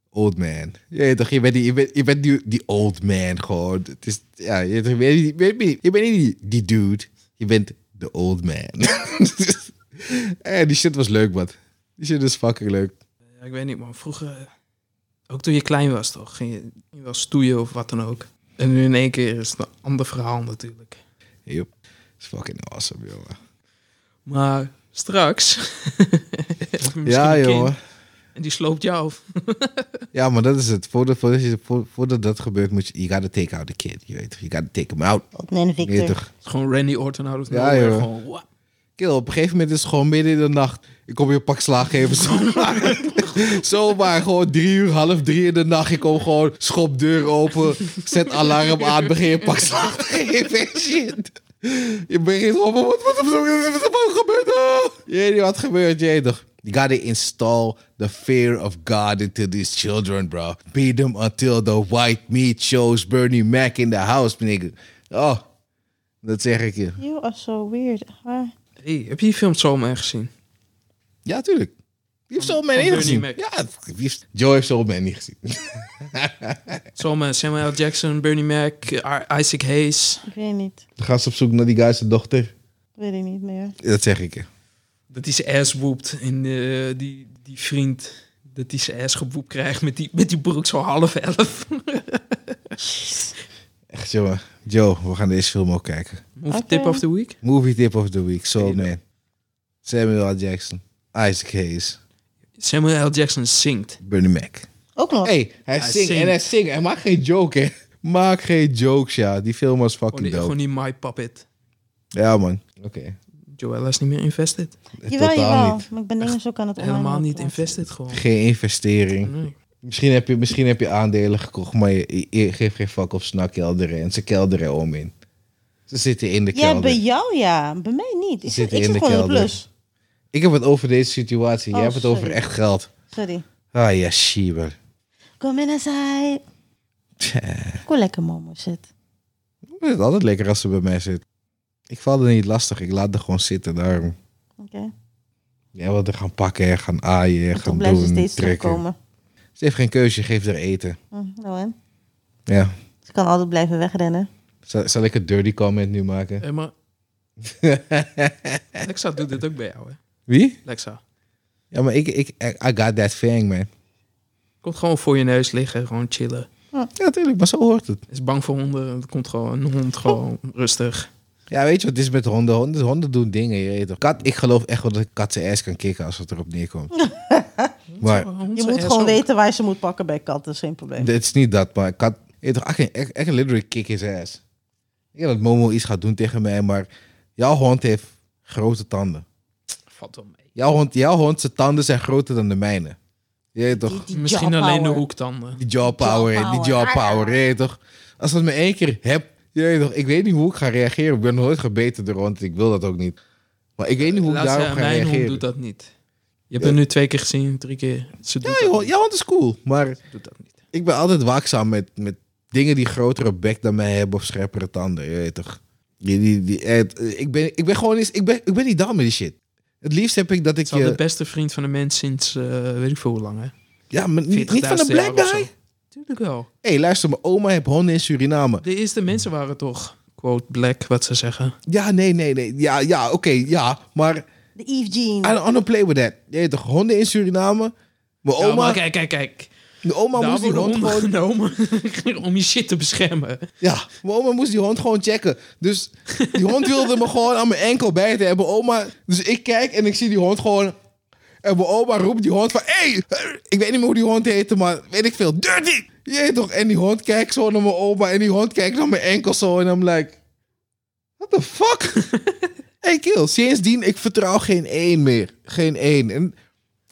Speaker 2: old man. Je weet toch, je bent, die, je bent, je bent die, die old man gewoon. Het is, ja, je, weet toch, je, bent, niet- je, bent, niet- je bent niet die, die dude. Je bent de old man. Eh, die shit was leuk, man. Die shit is fucking leuk.
Speaker 3: Ja, ik weet niet, man. Vroeger, eh, ook toen je klein was, toch? Ging je, ging je wel stoeien of wat dan ook. En nu in één keer is het een ander verhaal natuurlijk.
Speaker 2: Yep. Is fucking awesome, jongen.
Speaker 3: Maar straks... heb je misschien
Speaker 2: Ja,
Speaker 3: een kind
Speaker 2: jongen.
Speaker 3: En die sloopt jou. af.
Speaker 2: Ja, maar dat is het. Voordat, voordat, je- voor- voordat dat gebeurt, moet je... You gotta take out the kid. Je weet toch, you gotta take him out.
Speaker 1: Old man
Speaker 2: Je weet
Speaker 1: Victor.
Speaker 2: toch.
Speaker 3: Het is gewoon Randy Orton out of
Speaker 2: Ja,
Speaker 3: nowhere.
Speaker 2: jongen.
Speaker 3: Gewoon, wa-
Speaker 2: Kill, op een gegeven moment is het gewoon midden in de nacht. Ik kom je een pak slaag geven. Zomaar. zomaar, gewoon drie uur, half drie in de nacht. Ik kom gewoon, schop deur open, zet alarm aan, begin je pak slaag te geven. en Shit. Je begint gewoon, wat, wat, wat, wat, wat, wat, wat gebeurt er? Je weet niet wat gebeurt, je weet toch. You gotta install the fear of God into these children, bro. Beat them until the white meat shows Bernie Mac in the house, nigga. Oh, dat zeg ik je.
Speaker 1: You are so weird. Ah, echt waar.
Speaker 3: Hey, heb je die film Zomer gezien?
Speaker 2: Ja, tuurlijk. Wie heeft Soul Man
Speaker 3: van
Speaker 2: niet
Speaker 3: Bernie
Speaker 2: gezien?
Speaker 3: Mac.
Speaker 2: Ja, wie heeft... Joe heeft Soul Man niet gezien.
Speaker 3: Zomer, Samuel L. Jackson, Bernie Mac, eh, Isaac Hayes.
Speaker 1: Ik weet niet.
Speaker 2: Dan gaan ze op zoek naar die guy's dochter.
Speaker 1: Weet ik niet meer.
Speaker 2: Dat zeg ik. je.
Speaker 3: Dat hij zijn ass woept. En eh, die, die vriend... Dat hij zijn ass gewoept krijgt met die, met die broek zo half elf.
Speaker 2: Echt, jongen. Joe, we gaan deze film ook kijken.
Speaker 3: Movie
Speaker 1: Oké.
Speaker 3: tip of the week?
Speaker 2: Movie tip of the week. Soul
Speaker 3: Oké,
Speaker 2: Man. Samuel L. Jackson. Isaac Hayes.
Speaker 3: Samuel L. Jackson zingt.
Speaker 2: Bernie Mac.
Speaker 1: Ook nog.
Speaker 2: hey, hij
Speaker 3: Hij
Speaker 2: zingt en
Speaker 3: zingt.
Speaker 2: hij zingt. Hij maakt geen joke, hè. Maak geen jokes, ja. Die film was
Speaker 3: Gewoon
Speaker 2: fucking
Speaker 3: die,
Speaker 2: dope.
Speaker 3: gewoon die My Puppet.
Speaker 2: Ja, man. Oké.
Speaker 3: Joella is niet meer invested.
Speaker 1: Jawel,
Speaker 2: Totaal
Speaker 1: jawel.
Speaker 2: niet.
Speaker 1: Maar ik ben dingen zo aan het online
Speaker 3: Helemaal niet
Speaker 1: plaatsen.
Speaker 3: invested gewoon.
Speaker 2: Geen investering.
Speaker 3: Nee.
Speaker 2: Misschien heb, je, misschien heb je aandelen gekocht, maar je, je- je geeft geen fuck of ze naar kelderen. En ze kelderen om in. Ze zitten in de
Speaker 1: Ja,
Speaker 2: kelder.
Speaker 1: bij jou ja. Bij mij niet. Ik zit,
Speaker 2: Zitten
Speaker 1: ik
Speaker 2: in
Speaker 1: zit
Speaker 2: de
Speaker 1: gewoon in de
Speaker 2: kelder.
Speaker 1: plus.
Speaker 2: Ik heb het over deze situatie.
Speaker 1: Oh,
Speaker 2: Jij hebt het over
Speaker 1: sorry.
Speaker 2: echt geld.
Speaker 1: Sorry.
Speaker 2: Ah ja, shieber.
Speaker 1: Kom in zij. Kom lekker momo zit.
Speaker 2: Ik vind het altijd lekker als ze bij mij zit. Ik val er niet lastig. Ik laat er gewoon zitten. Daarom.
Speaker 1: Oké.
Speaker 2: Jij wil er gaan pakken, en gaan aaien, en
Speaker 1: Toch
Speaker 2: gaan
Speaker 1: blijft ze
Speaker 2: doen,
Speaker 1: steeds
Speaker 2: trekken.
Speaker 1: terugkomen.
Speaker 2: Ze heeft geen keuze. Je geeft haar eten.
Speaker 1: Hm, nou en?
Speaker 2: Ja.
Speaker 1: Ze kan altijd blijven wegrennen.
Speaker 2: Zal, zal ik een dirty comment nu maken?
Speaker 3: Hey, maar Lexa doet dit ook bij jou, hè?
Speaker 2: Wie?
Speaker 3: Lexa.
Speaker 2: Ja, maar ik, ik, I got that thing, man.
Speaker 3: Komt gewoon voor je neus liggen, gewoon chillen.
Speaker 2: Ja, natuurlijk, maar zo hoort het.
Speaker 3: Is bang voor honden, komt gewoon een hond gewoon rustig.
Speaker 2: Ja, weet je wat het is met honden? Honden, honden doen dingen, je weet toch. Kat, ik geloof echt wel dat een kat zijn ass kan kicken als het erop neerkomt. maar
Speaker 1: Je moet gewoon weten waar ze moet pakken bij katten. Geen probleem.
Speaker 2: het is niet dat, maar een kat... Je weet toch, I can, I can literally kick his ass. Ik weet dat Momo iets gaat doen tegen mij, maar jouw hond heeft grote tanden.
Speaker 3: Valt wel mee.
Speaker 2: Jouw hond, jouw hond zijn tanden zijn groter dan de mijne. Je weet toch,
Speaker 1: Die
Speaker 3: Misschien
Speaker 1: jaw
Speaker 3: alleen de
Speaker 1: power.
Speaker 3: hoektanden.
Speaker 2: die jaw power,
Speaker 1: Jaw
Speaker 2: die
Speaker 1: power.
Speaker 2: jaw power, je weet toch. Als dat me één keer heb, je weet toch, ik weet niet hoe ik ga reageren. Ik ben nog nooit gebeten door een hond, ik wil dat ook niet. Maar ik weet niet hoe ik
Speaker 3: Laat zeggen,
Speaker 2: daarop ga
Speaker 3: mijn
Speaker 2: reageren.
Speaker 3: hond doet dat niet. Je hebt hem nu twee keer gezien, drie keer. Ze doet,
Speaker 2: Ja,
Speaker 3: dat,
Speaker 2: joh,
Speaker 3: niet.
Speaker 2: ja, want het is cool. Maar
Speaker 3: Ze doet dat niet.
Speaker 2: ik ben altijd waakzaam met, met dingen die grotere bek dan mij hebben of scherpere tanden. Je weet toch? Die, die, die, het- ik, ben, ik ben gewoon eens, ik ben, ik ben niet down met die shit. Het liefst heb ik dat ik eh,
Speaker 3: Het is al de
Speaker 2: je.
Speaker 3: beste vriend van de mens sinds eh, weet ik veel hoe lang, hè?
Speaker 2: Ja, maar niet, niet van de
Speaker 3: 40.000
Speaker 2: black
Speaker 3: jaar of
Speaker 2: guy.
Speaker 3: zo. Tuurlijk wel.
Speaker 2: Hé, hey, luister, mijn oma heeft honden in Suriname.
Speaker 3: De eerste mensen waren toch, quote, black, wat ze zeggen.
Speaker 2: Ja, nee, nee, nee. Ja, ja oké, ja. Maar I
Speaker 1: De Eve Jean.
Speaker 2: don't, I don't play with that. Je weet toch, honden in Suriname. Mijn
Speaker 3: Ja,
Speaker 2: oma,
Speaker 3: maar kijk, kijk, kijk.
Speaker 2: de oma
Speaker 3: Daar
Speaker 2: moest die
Speaker 3: worden
Speaker 2: hond
Speaker 3: honden
Speaker 2: gewoon
Speaker 3: genomen om je shit te beschermen.
Speaker 2: Ja, mijn oma moest die hond gewoon checken. Dus die hond wilde me gewoon aan mijn enkel bijten. En mijn oma... Dus ik kijk en ik zie die hond gewoon... En mijn oma roept die hond van... Hé! Hey! Ik weet niet meer hoe die hond heette, maar weet ik veel. Dirty! Jeet toch? En die hond kijkt zo naar mijn oma. En die hond kijkt naar mijn enkel zo. En I'm like... What the fuck? hey kill, sindsdien ik vertrouw geen één meer. Geen één. En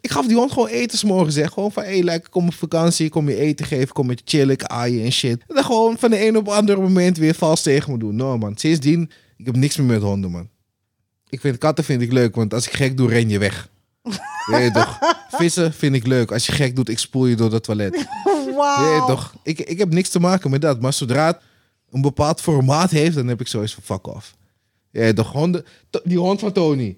Speaker 2: ik gaf die hond gewoon eten s'morgen zeg. Gewoon van, hé, hey, lekker, kom op vakantie, ik kom je eten geven, ik kom met je chillen, ik aaien en shit. En dan gewoon van de een op het andere moment weer vals tegen me doen. Nou man, sindsdien, ik heb niks meer met honden, man. Ik vind katten vind ik leuk, want als ik gek doe, ren je weg. Weet je toch? Vissen vind ik leuk. Als je gek doet, ik spoel je door dat toilet. Je weet
Speaker 1: Wauw.
Speaker 2: Ah, toch? Ik, ik heb niks te maken met dat. Maar zodra het een bepaald formaat heeft, dan heb ik zoiets van fuck off. Je weet toch? Honden, to- die hond van Tony.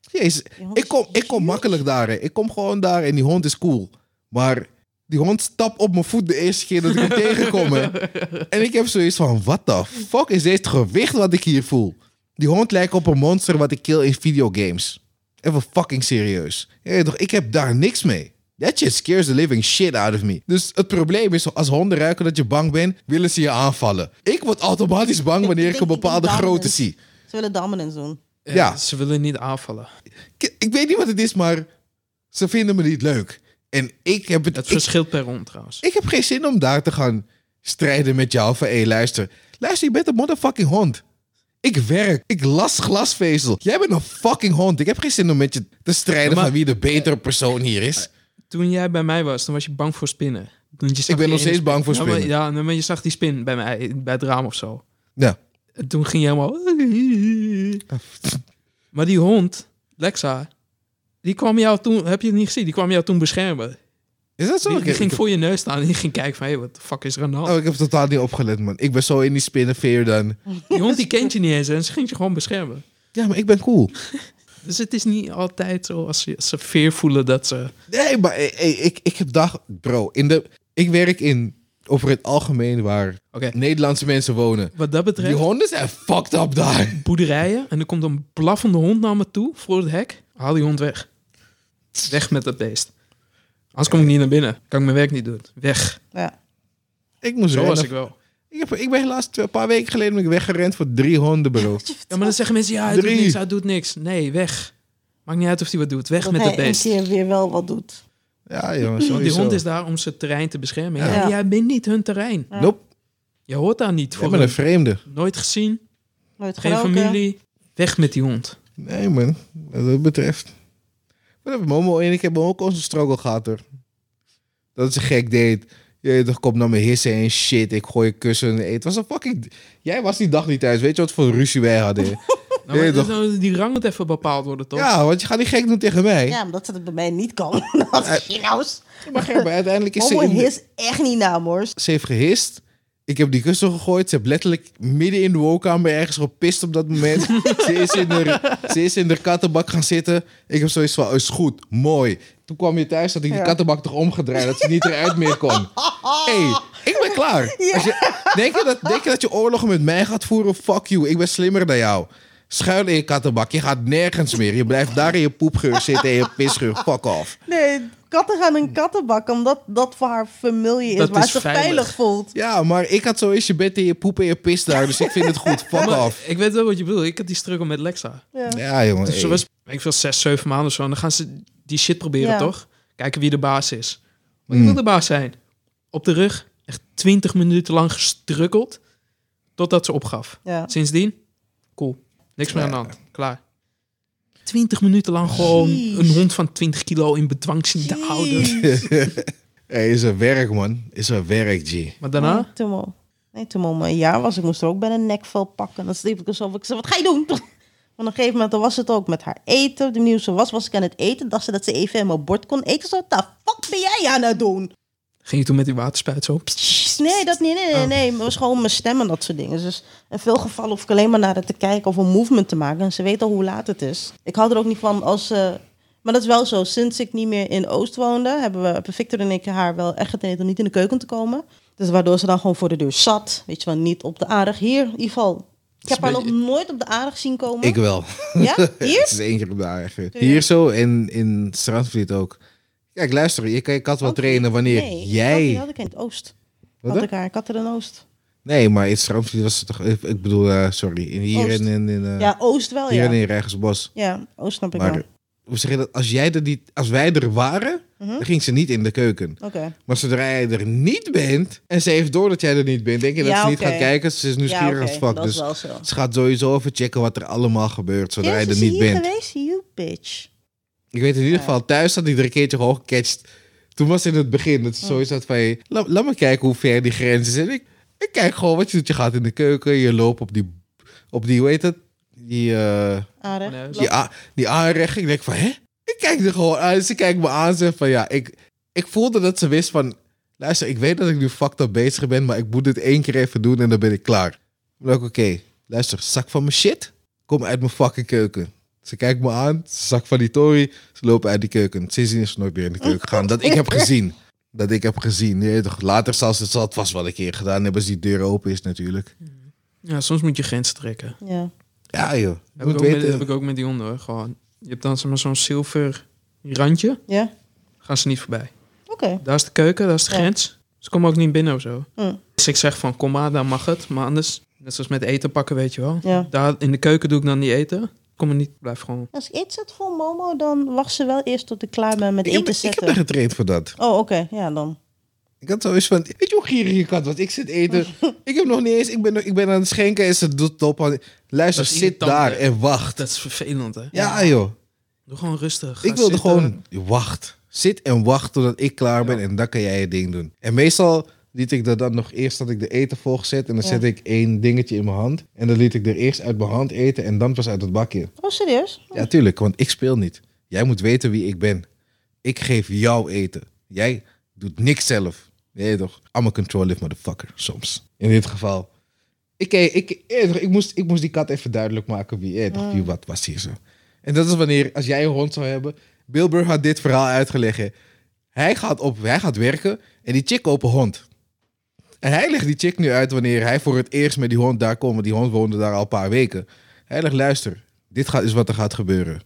Speaker 2: Jezus,
Speaker 1: Die hond
Speaker 2: ik kom,
Speaker 1: is
Speaker 2: ik kom makkelijk daar. Hè. Ik kom gewoon daar en die hond is cool. Maar die hond stapt op mijn voet de eerste keer dat ik hem tegenkom. hè. En ik heb zoiets van, what the fuck is dit gewicht wat ik hier voel? Die hond lijkt op een monster wat ik kill in videogames. Even fucking serieus. Je weet toch, ik heb daar niks mee. That shit scares the living shit out of me. Dus het probleem is, als honden ruiken dat je bang bent, willen ze je aanvallen. Ik word automatisch bang wanneer ik een bepaalde grootte zie.
Speaker 1: Ze willen dominance doen.
Speaker 3: Eh,
Speaker 2: Ja.
Speaker 3: Ze willen niet aanvallen.
Speaker 2: Ik, ik weet niet wat het is, maar ze vinden me niet leuk. En ik heb het...
Speaker 3: Dat
Speaker 2: ik-
Speaker 3: verschilt per hond trouwens.
Speaker 2: Ik heb geen zin om daar te gaan strijden met jou van... Hé, luister. Luister, je bent een motherfucking hond. Ik werk. Ik las glasvezel. Jij bent een fucking hond. Ik heb geen zin om met je te strijden
Speaker 3: Ja, maar-
Speaker 2: van wie de betere persoon hier is.
Speaker 3: Toen jij bij mij was, toen was je bang voor spinnen. Want je zag
Speaker 2: Ik ben
Speaker 3: die
Speaker 2: nog
Speaker 3: ene
Speaker 2: steeds bang voor
Speaker 3: Ja, maar-
Speaker 2: spinnen.
Speaker 3: Ja, nee, maar je zag die spin bij mij, bij het raam of zo.
Speaker 2: Ja.
Speaker 3: En toen ging je helemaal... Maar die hond, Lexa, die kwam jou toen... Heb je het niet gezien? Die kwam jou toen beschermen.
Speaker 2: Is dat zo?
Speaker 3: Die,
Speaker 2: Ik-
Speaker 3: die
Speaker 2: ik,
Speaker 3: ging
Speaker 2: heb-
Speaker 3: voor je neus staan en die ging kijken van... Hé, wat de fuck is er aan de hand?
Speaker 2: Oh, ik heb totaal niet opgelet, man. Ik ben zo in die spinnenveer dan.
Speaker 3: Die hond die kent je niet eens en ze ging je gewoon beschermen.
Speaker 2: Ja, maar ik ben cool.
Speaker 3: Dus het is niet altijd zo als ze, als ze veer voelen dat ze...
Speaker 2: Nee, maar eh, eh, ik, ik heb dag... Bro, in de, ik werk in... Over het algemeen waar
Speaker 3: Oké.
Speaker 2: Nederlandse mensen wonen.
Speaker 3: Wat dat betreft...
Speaker 2: Die honden zijn fucked up daar.
Speaker 3: boerderijen en er komt een blaffende hond naar me toe voor het hek. Haal die hond weg. Weg met dat beest. Anders kom ik niet naar binnen. Kan ik mijn werk niet doen. Weg.
Speaker 1: Ja.
Speaker 2: Ik moest
Speaker 3: Zo
Speaker 2: rennen
Speaker 3: was ik wel.
Speaker 2: Ik, heb, ik ben helaas twee- een paar weken geleden ben ik weggerend voor drie honden, bro.
Speaker 3: Ja, maar dan zeggen mensen, ja, hij
Speaker 2: Drie.
Speaker 3: doet niks, hij doet niks. Nee, weg. Maakt niet uit of hij wat doet. Weg
Speaker 1: Dat
Speaker 3: met
Speaker 1: hij
Speaker 3: dat
Speaker 1: een
Speaker 3: beest.
Speaker 1: keer weer wel wat doet.
Speaker 2: Ja, jongens.
Speaker 3: Want die
Speaker 2: sowieso.
Speaker 3: hond is daar om zijn terrein te beschermen. Ja,
Speaker 1: Ja.
Speaker 3: jij bent niet hun terrein.
Speaker 2: Nope.
Speaker 3: Je hoort daar niet
Speaker 2: Ik
Speaker 3: voor.
Speaker 2: ben een vreemde.
Speaker 3: Nooit gezien,
Speaker 1: Nooit
Speaker 3: geen
Speaker 1: geroken.
Speaker 3: familie. Weg met die hond.
Speaker 2: Nee, man. Wat dat betreft. Maar dat Momo en ik hebben ook onze struggle gehad, hoor. Dat ze gek deed. Je toch komt naar me hissen en shit. Ik gooi je kussen. en Het was een fucking... Jij was die dag niet thuis. Weet je wat voor ruzie wij hadden?
Speaker 3: Nou,
Speaker 2: Nee,
Speaker 3: maar
Speaker 2: toch?
Speaker 3: nou, die rang moet even bepaald worden, toch?
Speaker 2: ja, want je gaat niet gek doen tegen mij.
Speaker 1: Ja, omdat ze dat bij mij niet kan. Dat is graus.
Speaker 2: Maar Gerber, uiteindelijk is Eh, ze,
Speaker 1: Homo
Speaker 2: in de-
Speaker 1: is echt niet naam hoor.
Speaker 2: ze heeft gehist. Ik heb die kussen gegooid. Ze heeft letterlijk midden in de woonkamer ergens gepist op dat moment. ze, is in de, ze is in de kattenbak gaan zitten. Ik heb zoiets van, is goed, mooi. Toen kwam je thuis, had ik die
Speaker 1: Ja.
Speaker 2: kattenbak toch omgedraaid. Dat ze niet eruit meer kon. hey, ik ben klaar. Als je, denk, je dat, denk je dat je oorlog met mij gaat voeren? Fuck you, ik ben slimmer dan jou. Schuil in je kattenbak. Je gaat nergens meer. Je blijft daar in je poepgeur zitten en je pisgeur. Fuck off.
Speaker 1: Nee, katten gaan een kattenbak omdat dat voor haar familie is,
Speaker 3: Dat
Speaker 1: waar
Speaker 3: is
Speaker 1: ze veilig,
Speaker 3: veilig.
Speaker 1: voelt.
Speaker 2: Ja, maar ik had zoiets, je bent in je poep en je pist daar. Dus ik vind het goed. Fuck
Speaker 3: Maar
Speaker 2: off.
Speaker 3: Ik weet wel wat je bedoelt. Ik had die struggle met Lexa.
Speaker 1: Ja.
Speaker 2: Ja, jongen.
Speaker 3: Dus ze
Speaker 2: hey.
Speaker 3: was, weet ik veel, zes, zeven maanden of zo. En dan gaan ze die shit proberen,
Speaker 1: Ja.
Speaker 3: toch? Kijken wie de baas is. Maar
Speaker 2: Hmm.
Speaker 3: ik wil de baas zijn. Op de rug, echt twintig minuten lang gestrukkeld. Totdat ze opgaf.
Speaker 1: Ja.
Speaker 3: Sindsdien, cool. Niks meer
Speaker 2: Ja.
Speaker 3: aan de hand. Klaar. Twintig minuten lang gewoon
Speaker 1: Jeez.
Speaker 3: een hond van 20 kilo in bedwang zien te houden.
Speaker 1: Jeez.
Speaker 2: Hey, is er werk, man. Is er werk, G.
Speaker 3: Maar daarna,
Speaker 1: Nee, toen al- Nee, toen al mijn jaar was, ik moest er ook bij een nekvel pakken. Dan sliep ik er zo over. Ik zei, wat ga je doen? Van een gegeven moment dan was het ook met haar eten. Op De manier hoe ze was, was ik aan het eten. Dacht ze dat ze even in mijn bord kon eten. Zo, wat de fuck ben jij aan het doen?
Speaker 3: ging je toen met die waterspuit zo. pssst.
Speaker 1: Nee, dat niet. Nee, nee,
Speaker 3: Oh.
Speaker 1: nee. Het was gewoon mijn stem en dat soort dingen. Dus in veel gevallen hoef ik alleen maar naar haar te kijken of een movement te maken. En ze weet al hoe laat het is. Ik hou er ook niet van als ze... Maar dat is wel zo. Sinds ik niet meer in Oost woonde, hebben we hebben Victor en ik haar wel echt getraind om niet in de keuken te komen. Dus waardoor ze dan gewoon voor de deur zat. Weet je wel, niet op de aardig. Hier, in ieder geval. Ik
Speaker 3: is
Speaker 1: heb haar
Speaker 3: een
Speaker 1: nog nooit op de aardig zien komen.
Speaker 2: Ik wel.
Speaker 1: Ja? Hier?
Speaker 2: Het is één keer op de eigen. Hier zo en in Strandvliet ook. Kijk, luister, je kan je kat wel trainen wanneer
Speaker 1: Oh, Nee, Die
Speaker 2: jij...
Speaker 1: had ik in het Oost.
Speaker 2: Wat
Speaker 1: had
Speaker 2: dan?
Speaker 1: ik haar, ik had er in Oost.
Speaker 2: Nee, maar in Strandvliet was het toch... Ik ik bedoel, eh, sorry. in- Hier
Speaker 1: Oost.
Speaker 2: en in... in eh,
Speaker 1: Oh, Ja, Oost wel,
Speaker 2: hier en
Speaker 1: ja.
Speaker 2: in Rijgersbos.
Speaker 1: Ja, Oost snap ik wel.
Speaker 2: Maar
Speaker 1: Oké.
Speaker 2: hoe zeg je dat? Als, jij er niet, als wij er waren,
Speaker 1: Mhm.
Speaker 2: dan ging ze niet in de keuken. Maar zodra jij er niet bent en ze heeft door dat jij er niet bent, denk je dat
Speaker 1: Ja,
Speaker 2: ze niet
Speaker 1: oké.
Speaker 2: gaat kijken. Ze is nieuwsgierig
Speaker 1: ja, oké,
Speaker 2: als fuck.
Speaker 1: dat
Speaker 2: Dus
Speaker 1: is wel zo.
Speaker 2: ze gaat sowieso even checken wat er allemaal gebeurt zodra
Speaker 1: Eerst
Speaker 2: je er
Speaker 1: is hij
Speaker 2: niet
Speaker 1: hier
Speaker 2: bent.
Speaker 1: geweest, you bitch.
Speaker 2: Ik weet in ieder geval, thuis had hij er een keertje gewoon gecatcht. Toen was het in het begin dat ze sowieso had van, hey, la- laat me kijken hoe ver die grens is. En ik, ik kijk gewoon wat je doet. Je gaat in de keuken, je loopt op die, op die hoe heet dat? Die, eh
Speaker 1: Aardig.
Speaker 3: Nee,
Speaker 2: die, a- die aanrecht. Ik denk van, hè? Ik kijk er gewoon aan. Ze kijkt me aan. Ze van, ja, ik, ik voelde dat ze wist van... Luister, ik weet dat ik nu fucked up bezig ben, maar ik moet dit één keer even doen en dan ben ik klaar. Ik dacht, oké, luister, zak van mijn shit, kom uit mijn fucking keuken. Ze kijkt me aan, ze zak van die tory, ze lopen uit die keuken. Sindsdien is ze nooit meer in de keuken gegaan. Dat ik heb gezien. Dat ik heb gezien. Je weet toch, later zal ze zal het vast wel een keer gedaan hebben als die deur open is natuurlijk.
Speaker 3: Ja, soms moet je grenzen trekken.
Speaker 1: Ja.
Speaker 2: Ja joh,
Speaker 3: Heb
Speaker 2: moet
Speaker 3: ik, ook met,
Speaker 2: weten.
Speaker 3: heb ik ook met die honden hoor. Gewoon, je hebt dan zeg maar, zo'n zilver randje.
Speaker 1: Ja?
Speaker 3: Gaan ze niet voorbij.
Speaker 1: Oké.
Speaker 3: Daar is de keuken, daar is de
Speaker 1: Ja.
Speaker 3: grens. Ze komen ook niet binnen of zo.
Speaker 1: Hm.
Speaker 3: Dus ik zeg van kom maar, dan mag het. Maar anders, net zoals met eten pakken, weet je wel.
Speaker 1: Ja.
Speaker 3: Daar in de keuken doe ik dan niet eten. Kom maar niet, blijf gewoon.
Speaker 1: Als ik iets zet voor Momo, dan wacht ze wel eerst tot ik klaar ben met
Speaker 2: Ik heb,
Speaker 1: eten
Speaker 2: ik heb
Speaker 1: zetten.
Speaker 2: haar getraind voor dat.
Speaker 1: Oh, oké. Ja, dan.
Speaker 2: Ik had zoiets van, weet je hoe gierig je kat was? Ik zit eten. ik heb nog niet eens, ik ben, ik ben aan het schenken en ze doet top aan. Luister,
Speaker 3: Dat is
Speaker 2: zit
Speaker 3: irritant,
Speaker 2: daar
Speaker 3: hè?
Speaker 2: en wacht.
Speaker 3: Dat is vervelend hè.
Speaker 2: Ja joh,
Speaker 3: Doe gewoon rustig.
Speaker 2: ik
Speaker 3: Ga
Speaker 2: wilde
Speaker 3: zitten.
Speaker 2: gewoon, wacht. Zit en wacht totdat ik klaar ben en dan kan jij je ding doen. En meestal liet ik dat dan nog eerst, dat ik de eten volgezet en dan
Speaker 1: Ja.
Speaker 2: zet ik één dingetje in mijn hand. En dan liet ik er eerst uit mijn hand eten en dan pas uit het bakje.
Speaker 1: Oh, serieus?
Speaker 2: Ja, tuurlijk, want ik speel niet. Jij moet weten wie ik ben. Ik geef jou eten. Jij doet niks zelf. Nee toch? I'm a control if motherfucker, soms. In dit geval. Ik, ik, ik, eh, toch, ik, moest, ik moest die kat even duidelijk maken wie, eh, toch, wie wat was hier zo. En dat is wanneer, als jij een hond zou hebben... Bill Burr had dit verhaal uitgelegd. hè. Hij gaat, op, hij gaat werken en die chick op een hond. En hij legt die chick nu uit wanneer hij voor het eerst met die hond daar komt. Want die hond woonde daar al een paar weken. Hij legt, luister, dit gaat, is wat er gaat gebeuren.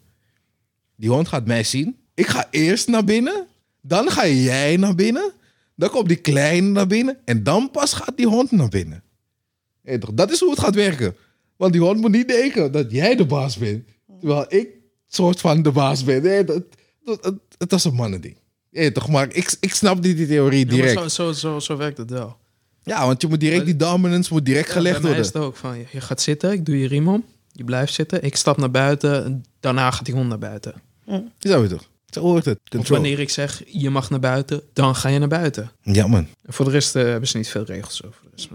Speaker 2: Die hond gaat mij zien. Ik ga eerst naar binnen. Dan ga jij naar binnen. Dan komt die kleine naar binnen. En dan pas gaat die hond naar binnen. Hé, toch, dat is hoe het gaat werken. Want die hond moet niet denken dat jij de baas bent. Terwijl ik soort van de baas ben. Hé, dat, dat, dat, dat is een mannending. Hé, toch, maar ik, ik snap niet die theorie
Speaker 3: Ja, maar
Speaker 2: direct.
Speaker 3: zo, zo, zo, zo werkt het wel.
Speaker 2: Ja, want je moet direct die dominance moet direct gelegd
Speaker 3: bij mij
Speaker 2: worden.
Speaker 3: is het ook van, je- je gaat zitten, ik doe je riem om, je blijft zitten, ik stap naar buiten, daarna gaat die hond naar buiten.
Speaker 2: Zo is het toch? Zo hoort het.
Speaker 3: Of
Speaker 2: Control.
Speaker 3: wanneer ik zeg, je mag naar buiten, dan ga je naar buiten.
Speaker 2: Ja, man.
Speaker 3: En voor de rest eh, hebben ze niet veel regels over. Dus eh,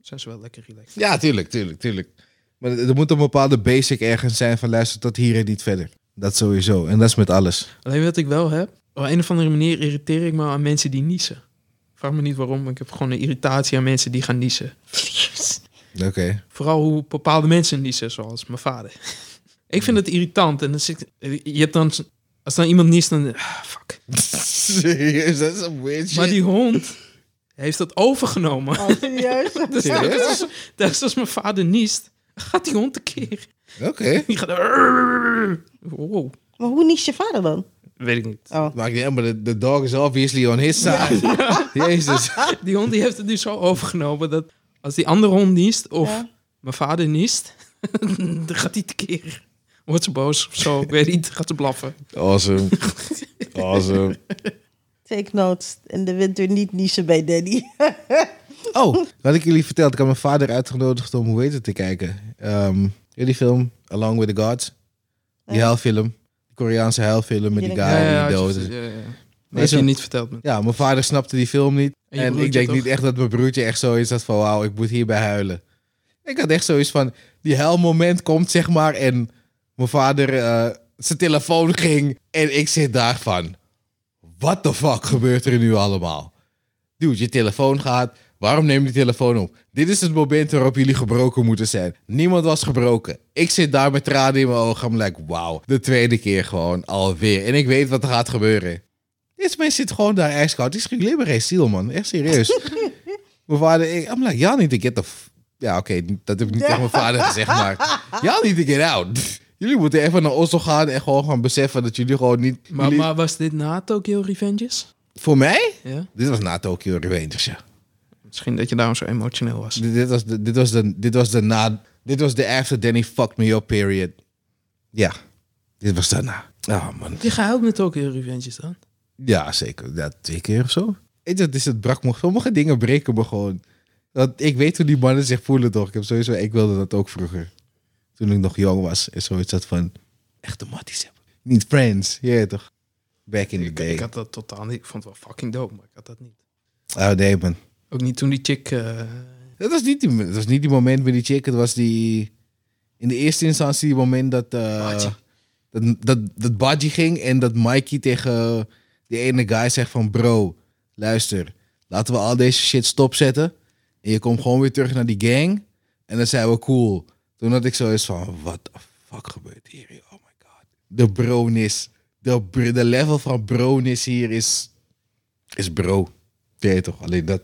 Speaker 3: zijn ze wel lekker relaxed.
Speaker 2: Ja, tuurlijk, tuurlijk, tuurlijk. Maar er er moet een bepaalde basic ergens zijn van luister tot hier en niet verder. Dat sowieso. En dat is met alles.
Speaker 3: Alleen wat ik wel heb, op een of andere manier irriteer ik me aan mensen die niezen. Ik Vraag me niet waarom, maar ik heb gewoon een irritatie aan mensen die gaan niezen.
Speaker 2: Oké.
Speaker 3: Vooral hoe bepaalde mensen niezen, zoals mijn vader. ik vind het irritant. En dan zit, je hebt dan, als dan iemand niest, dan... ah, fuck.
Speaker 2: Serieus, dat is een weird shit.
Speaker 3: Maar die hond heeft dat overgenomen.
Speaker 1: Oh, serieus?
Speaker 2: Serieus?
Speaker 3: Dus telkens als, telkens als mijn vader niest, gaat die hond tekeer.
Speaker 2: Oké.
Speaker 3: Die gaat... Wow,
Speaker 1: maar hoe niest je vader dan?
Speaker 3: weet ik niet.
Speaker 1: Oh.
Speaker 2: Maakt niet uit, maar de, de dog is obviously on his side. Jezus.
Speaker 3: Die hond die heeft het nu zo overgenomen dat als die andere hond niest of
Speaker 1: Ja.
Speaker 3: mijn vader niest, dan gaat hij tekeer. Wordt ze boos of zo, ik weet niet, gaat ze blaffen.
Speaker 2: Awesome. Awesome.
Speaker 1: Take notes. In de winter niet niezen bij Danny.
Speaker 2: Oh, wat ik jullie vertelde, ik had mijn vader uitgenodigd om hoe heet het te kijken. Ehm jullie film, Along with the Gods. Die
Speaker 1: Ja.
Speaker 2: huilfilm. Die Koreaanse huilfilm met die guy
Speaker 1: Ja,
Speaker 2: die dood
Speaker 3: ja,
Speaker 2: is.
Speaker 3: ja, ja. Maar
Speaker 2: Nee,
Speaker 3: heb je
Speaker 2: zo-
Speaker 3: niet verteld. me.
Speaker 2: Ja, mijn vader snapte die film niet.
Speaker 3: En je
Speaker 2: En ik
Speaker 3: broertje
Speaker 2: denk
Speaker 3: toch?
Speaker 2: niet echt dat mijn broertje echt zoiets had van... wauw, ik moet hierbij huilen. Ik had echt zoiets van... die huilmoment komt, zeg maar... en mijn vader eh, zijn telefoon ging... en ik zit daar van... what the fuck gebeurt er nu allemaal? Dude, je telefoon gaat... waarom neem je die telefoon op? Dit is het moment waarop jullie gebroken moeten zijn. Niemand was gebroken. Ik zit daar met tranen in mijn ogen. I'm like, wauw. De tweede keer gewoon alweer. En ik weet wat er gaat gebeuren. Dit mens zit gewoon daar ijskoud. Die schiet alleen maar geen ziel, man. Echt serieus. mijn vader, ik, I'm like, y'all need to get the... f- Ja, oké, dat heb ik niet tegen mijn vader gezegd, maar... Y'all need to get out. jullie moeten even naar Oslo gaan en gewoon gaan beseffen dat jullie gewoon niet...
Speaker 3: Maar,
Speaker 2: jullie-
Speaker 3: maar was dit na Tokyo Revenges?
Speaker 2: Voor mij?
Speaker 3: Ja?
Speaker 2: Dit was na Tokyo Revengers, ja.
Speaker 3: Misschien dat je daarom zo emotioneel was.
Speaker 2: Dit, dit was de, dit was de, dit was de na, dit was de after Danny fucked me up period. Ja, dit was daarna. Ah man.
Speaker 3: Heb je gehuild met Tokyo Revenges dan?
Speaker 2: Ja, zeker. Ja, twee keer of zo. Het, het, is, het brak me. Sommige dingen breken me gewoon. Want ik weet hoe die mannen zich voelen toch. Ik heb sowieso, ik wilde dat ook vroeger. Toen ik nog jong was. En zoiets dat van, echte matties hebben. Niet friends, je weet toch. Back in the
Speaker 3: Ik,
Speaker 2: day.
Speaker 3: ik had dat totaal niet. Ik vond het wel fucking dope, maar ik had dat niet.
Speaker 2: Oh nee man.
Speaker 3: Ook niet toen die chick... eh,
Speaker 2: Dat was niet die, dat was niet die moment met die chick. Het was die... In de eerste instantie die moment dat... eh,
Speaker 3: Baji.
Speaker 2: dat, dat, dat Baji ging en dat Mikey tegen die ene guy zegt van... Bro, luister. Laten we al deze shit stopzetten. En je komt gewoon weer terug naar die gang. En dan zijn we cool. Toen had ik zoiets van... What the fuck gebeurt hier? Oh my god. De bronis. De, br- de level van bronis hier is... Is bro. Je weet toch? Alleen dat...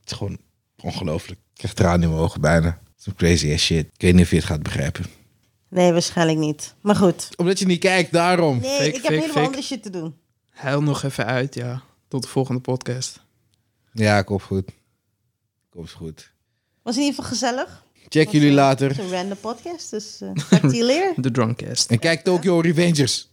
Speaker 2: Het is gewoon ongelooflijk. Ik krijg tranen in mijn ogen bijna. Some crazy ass shit. Ik weet niet of je het gaat begrijpen.
Speaker 1: Nee, waarschijnlijk niet. Maar goed.
Speaker 2: Omdat je niet kijkt, daarom.
Speaker 1: Nee,
Speaker 3: Fake,
Speaker 1: ik heb
Speaker 3: fake,
Speaker 1: helemaal
Speaker 3: fake.
Speaker 1: andere shit te doen.
Speaker 3: Huil nog even uit, ja. Tot de volgende podcast.
Speaker 2: Ja, komt goed. Komt goed.
Speaker 1: Was in ieder geval gezellig.
Speaker 2: Check jullie later.
Speaker 1: Het is een random podcast, dus eh, talk to you later.
Speaker 3: De Drunkcast.
Speaker 2: En kijk Tokyo Revengers.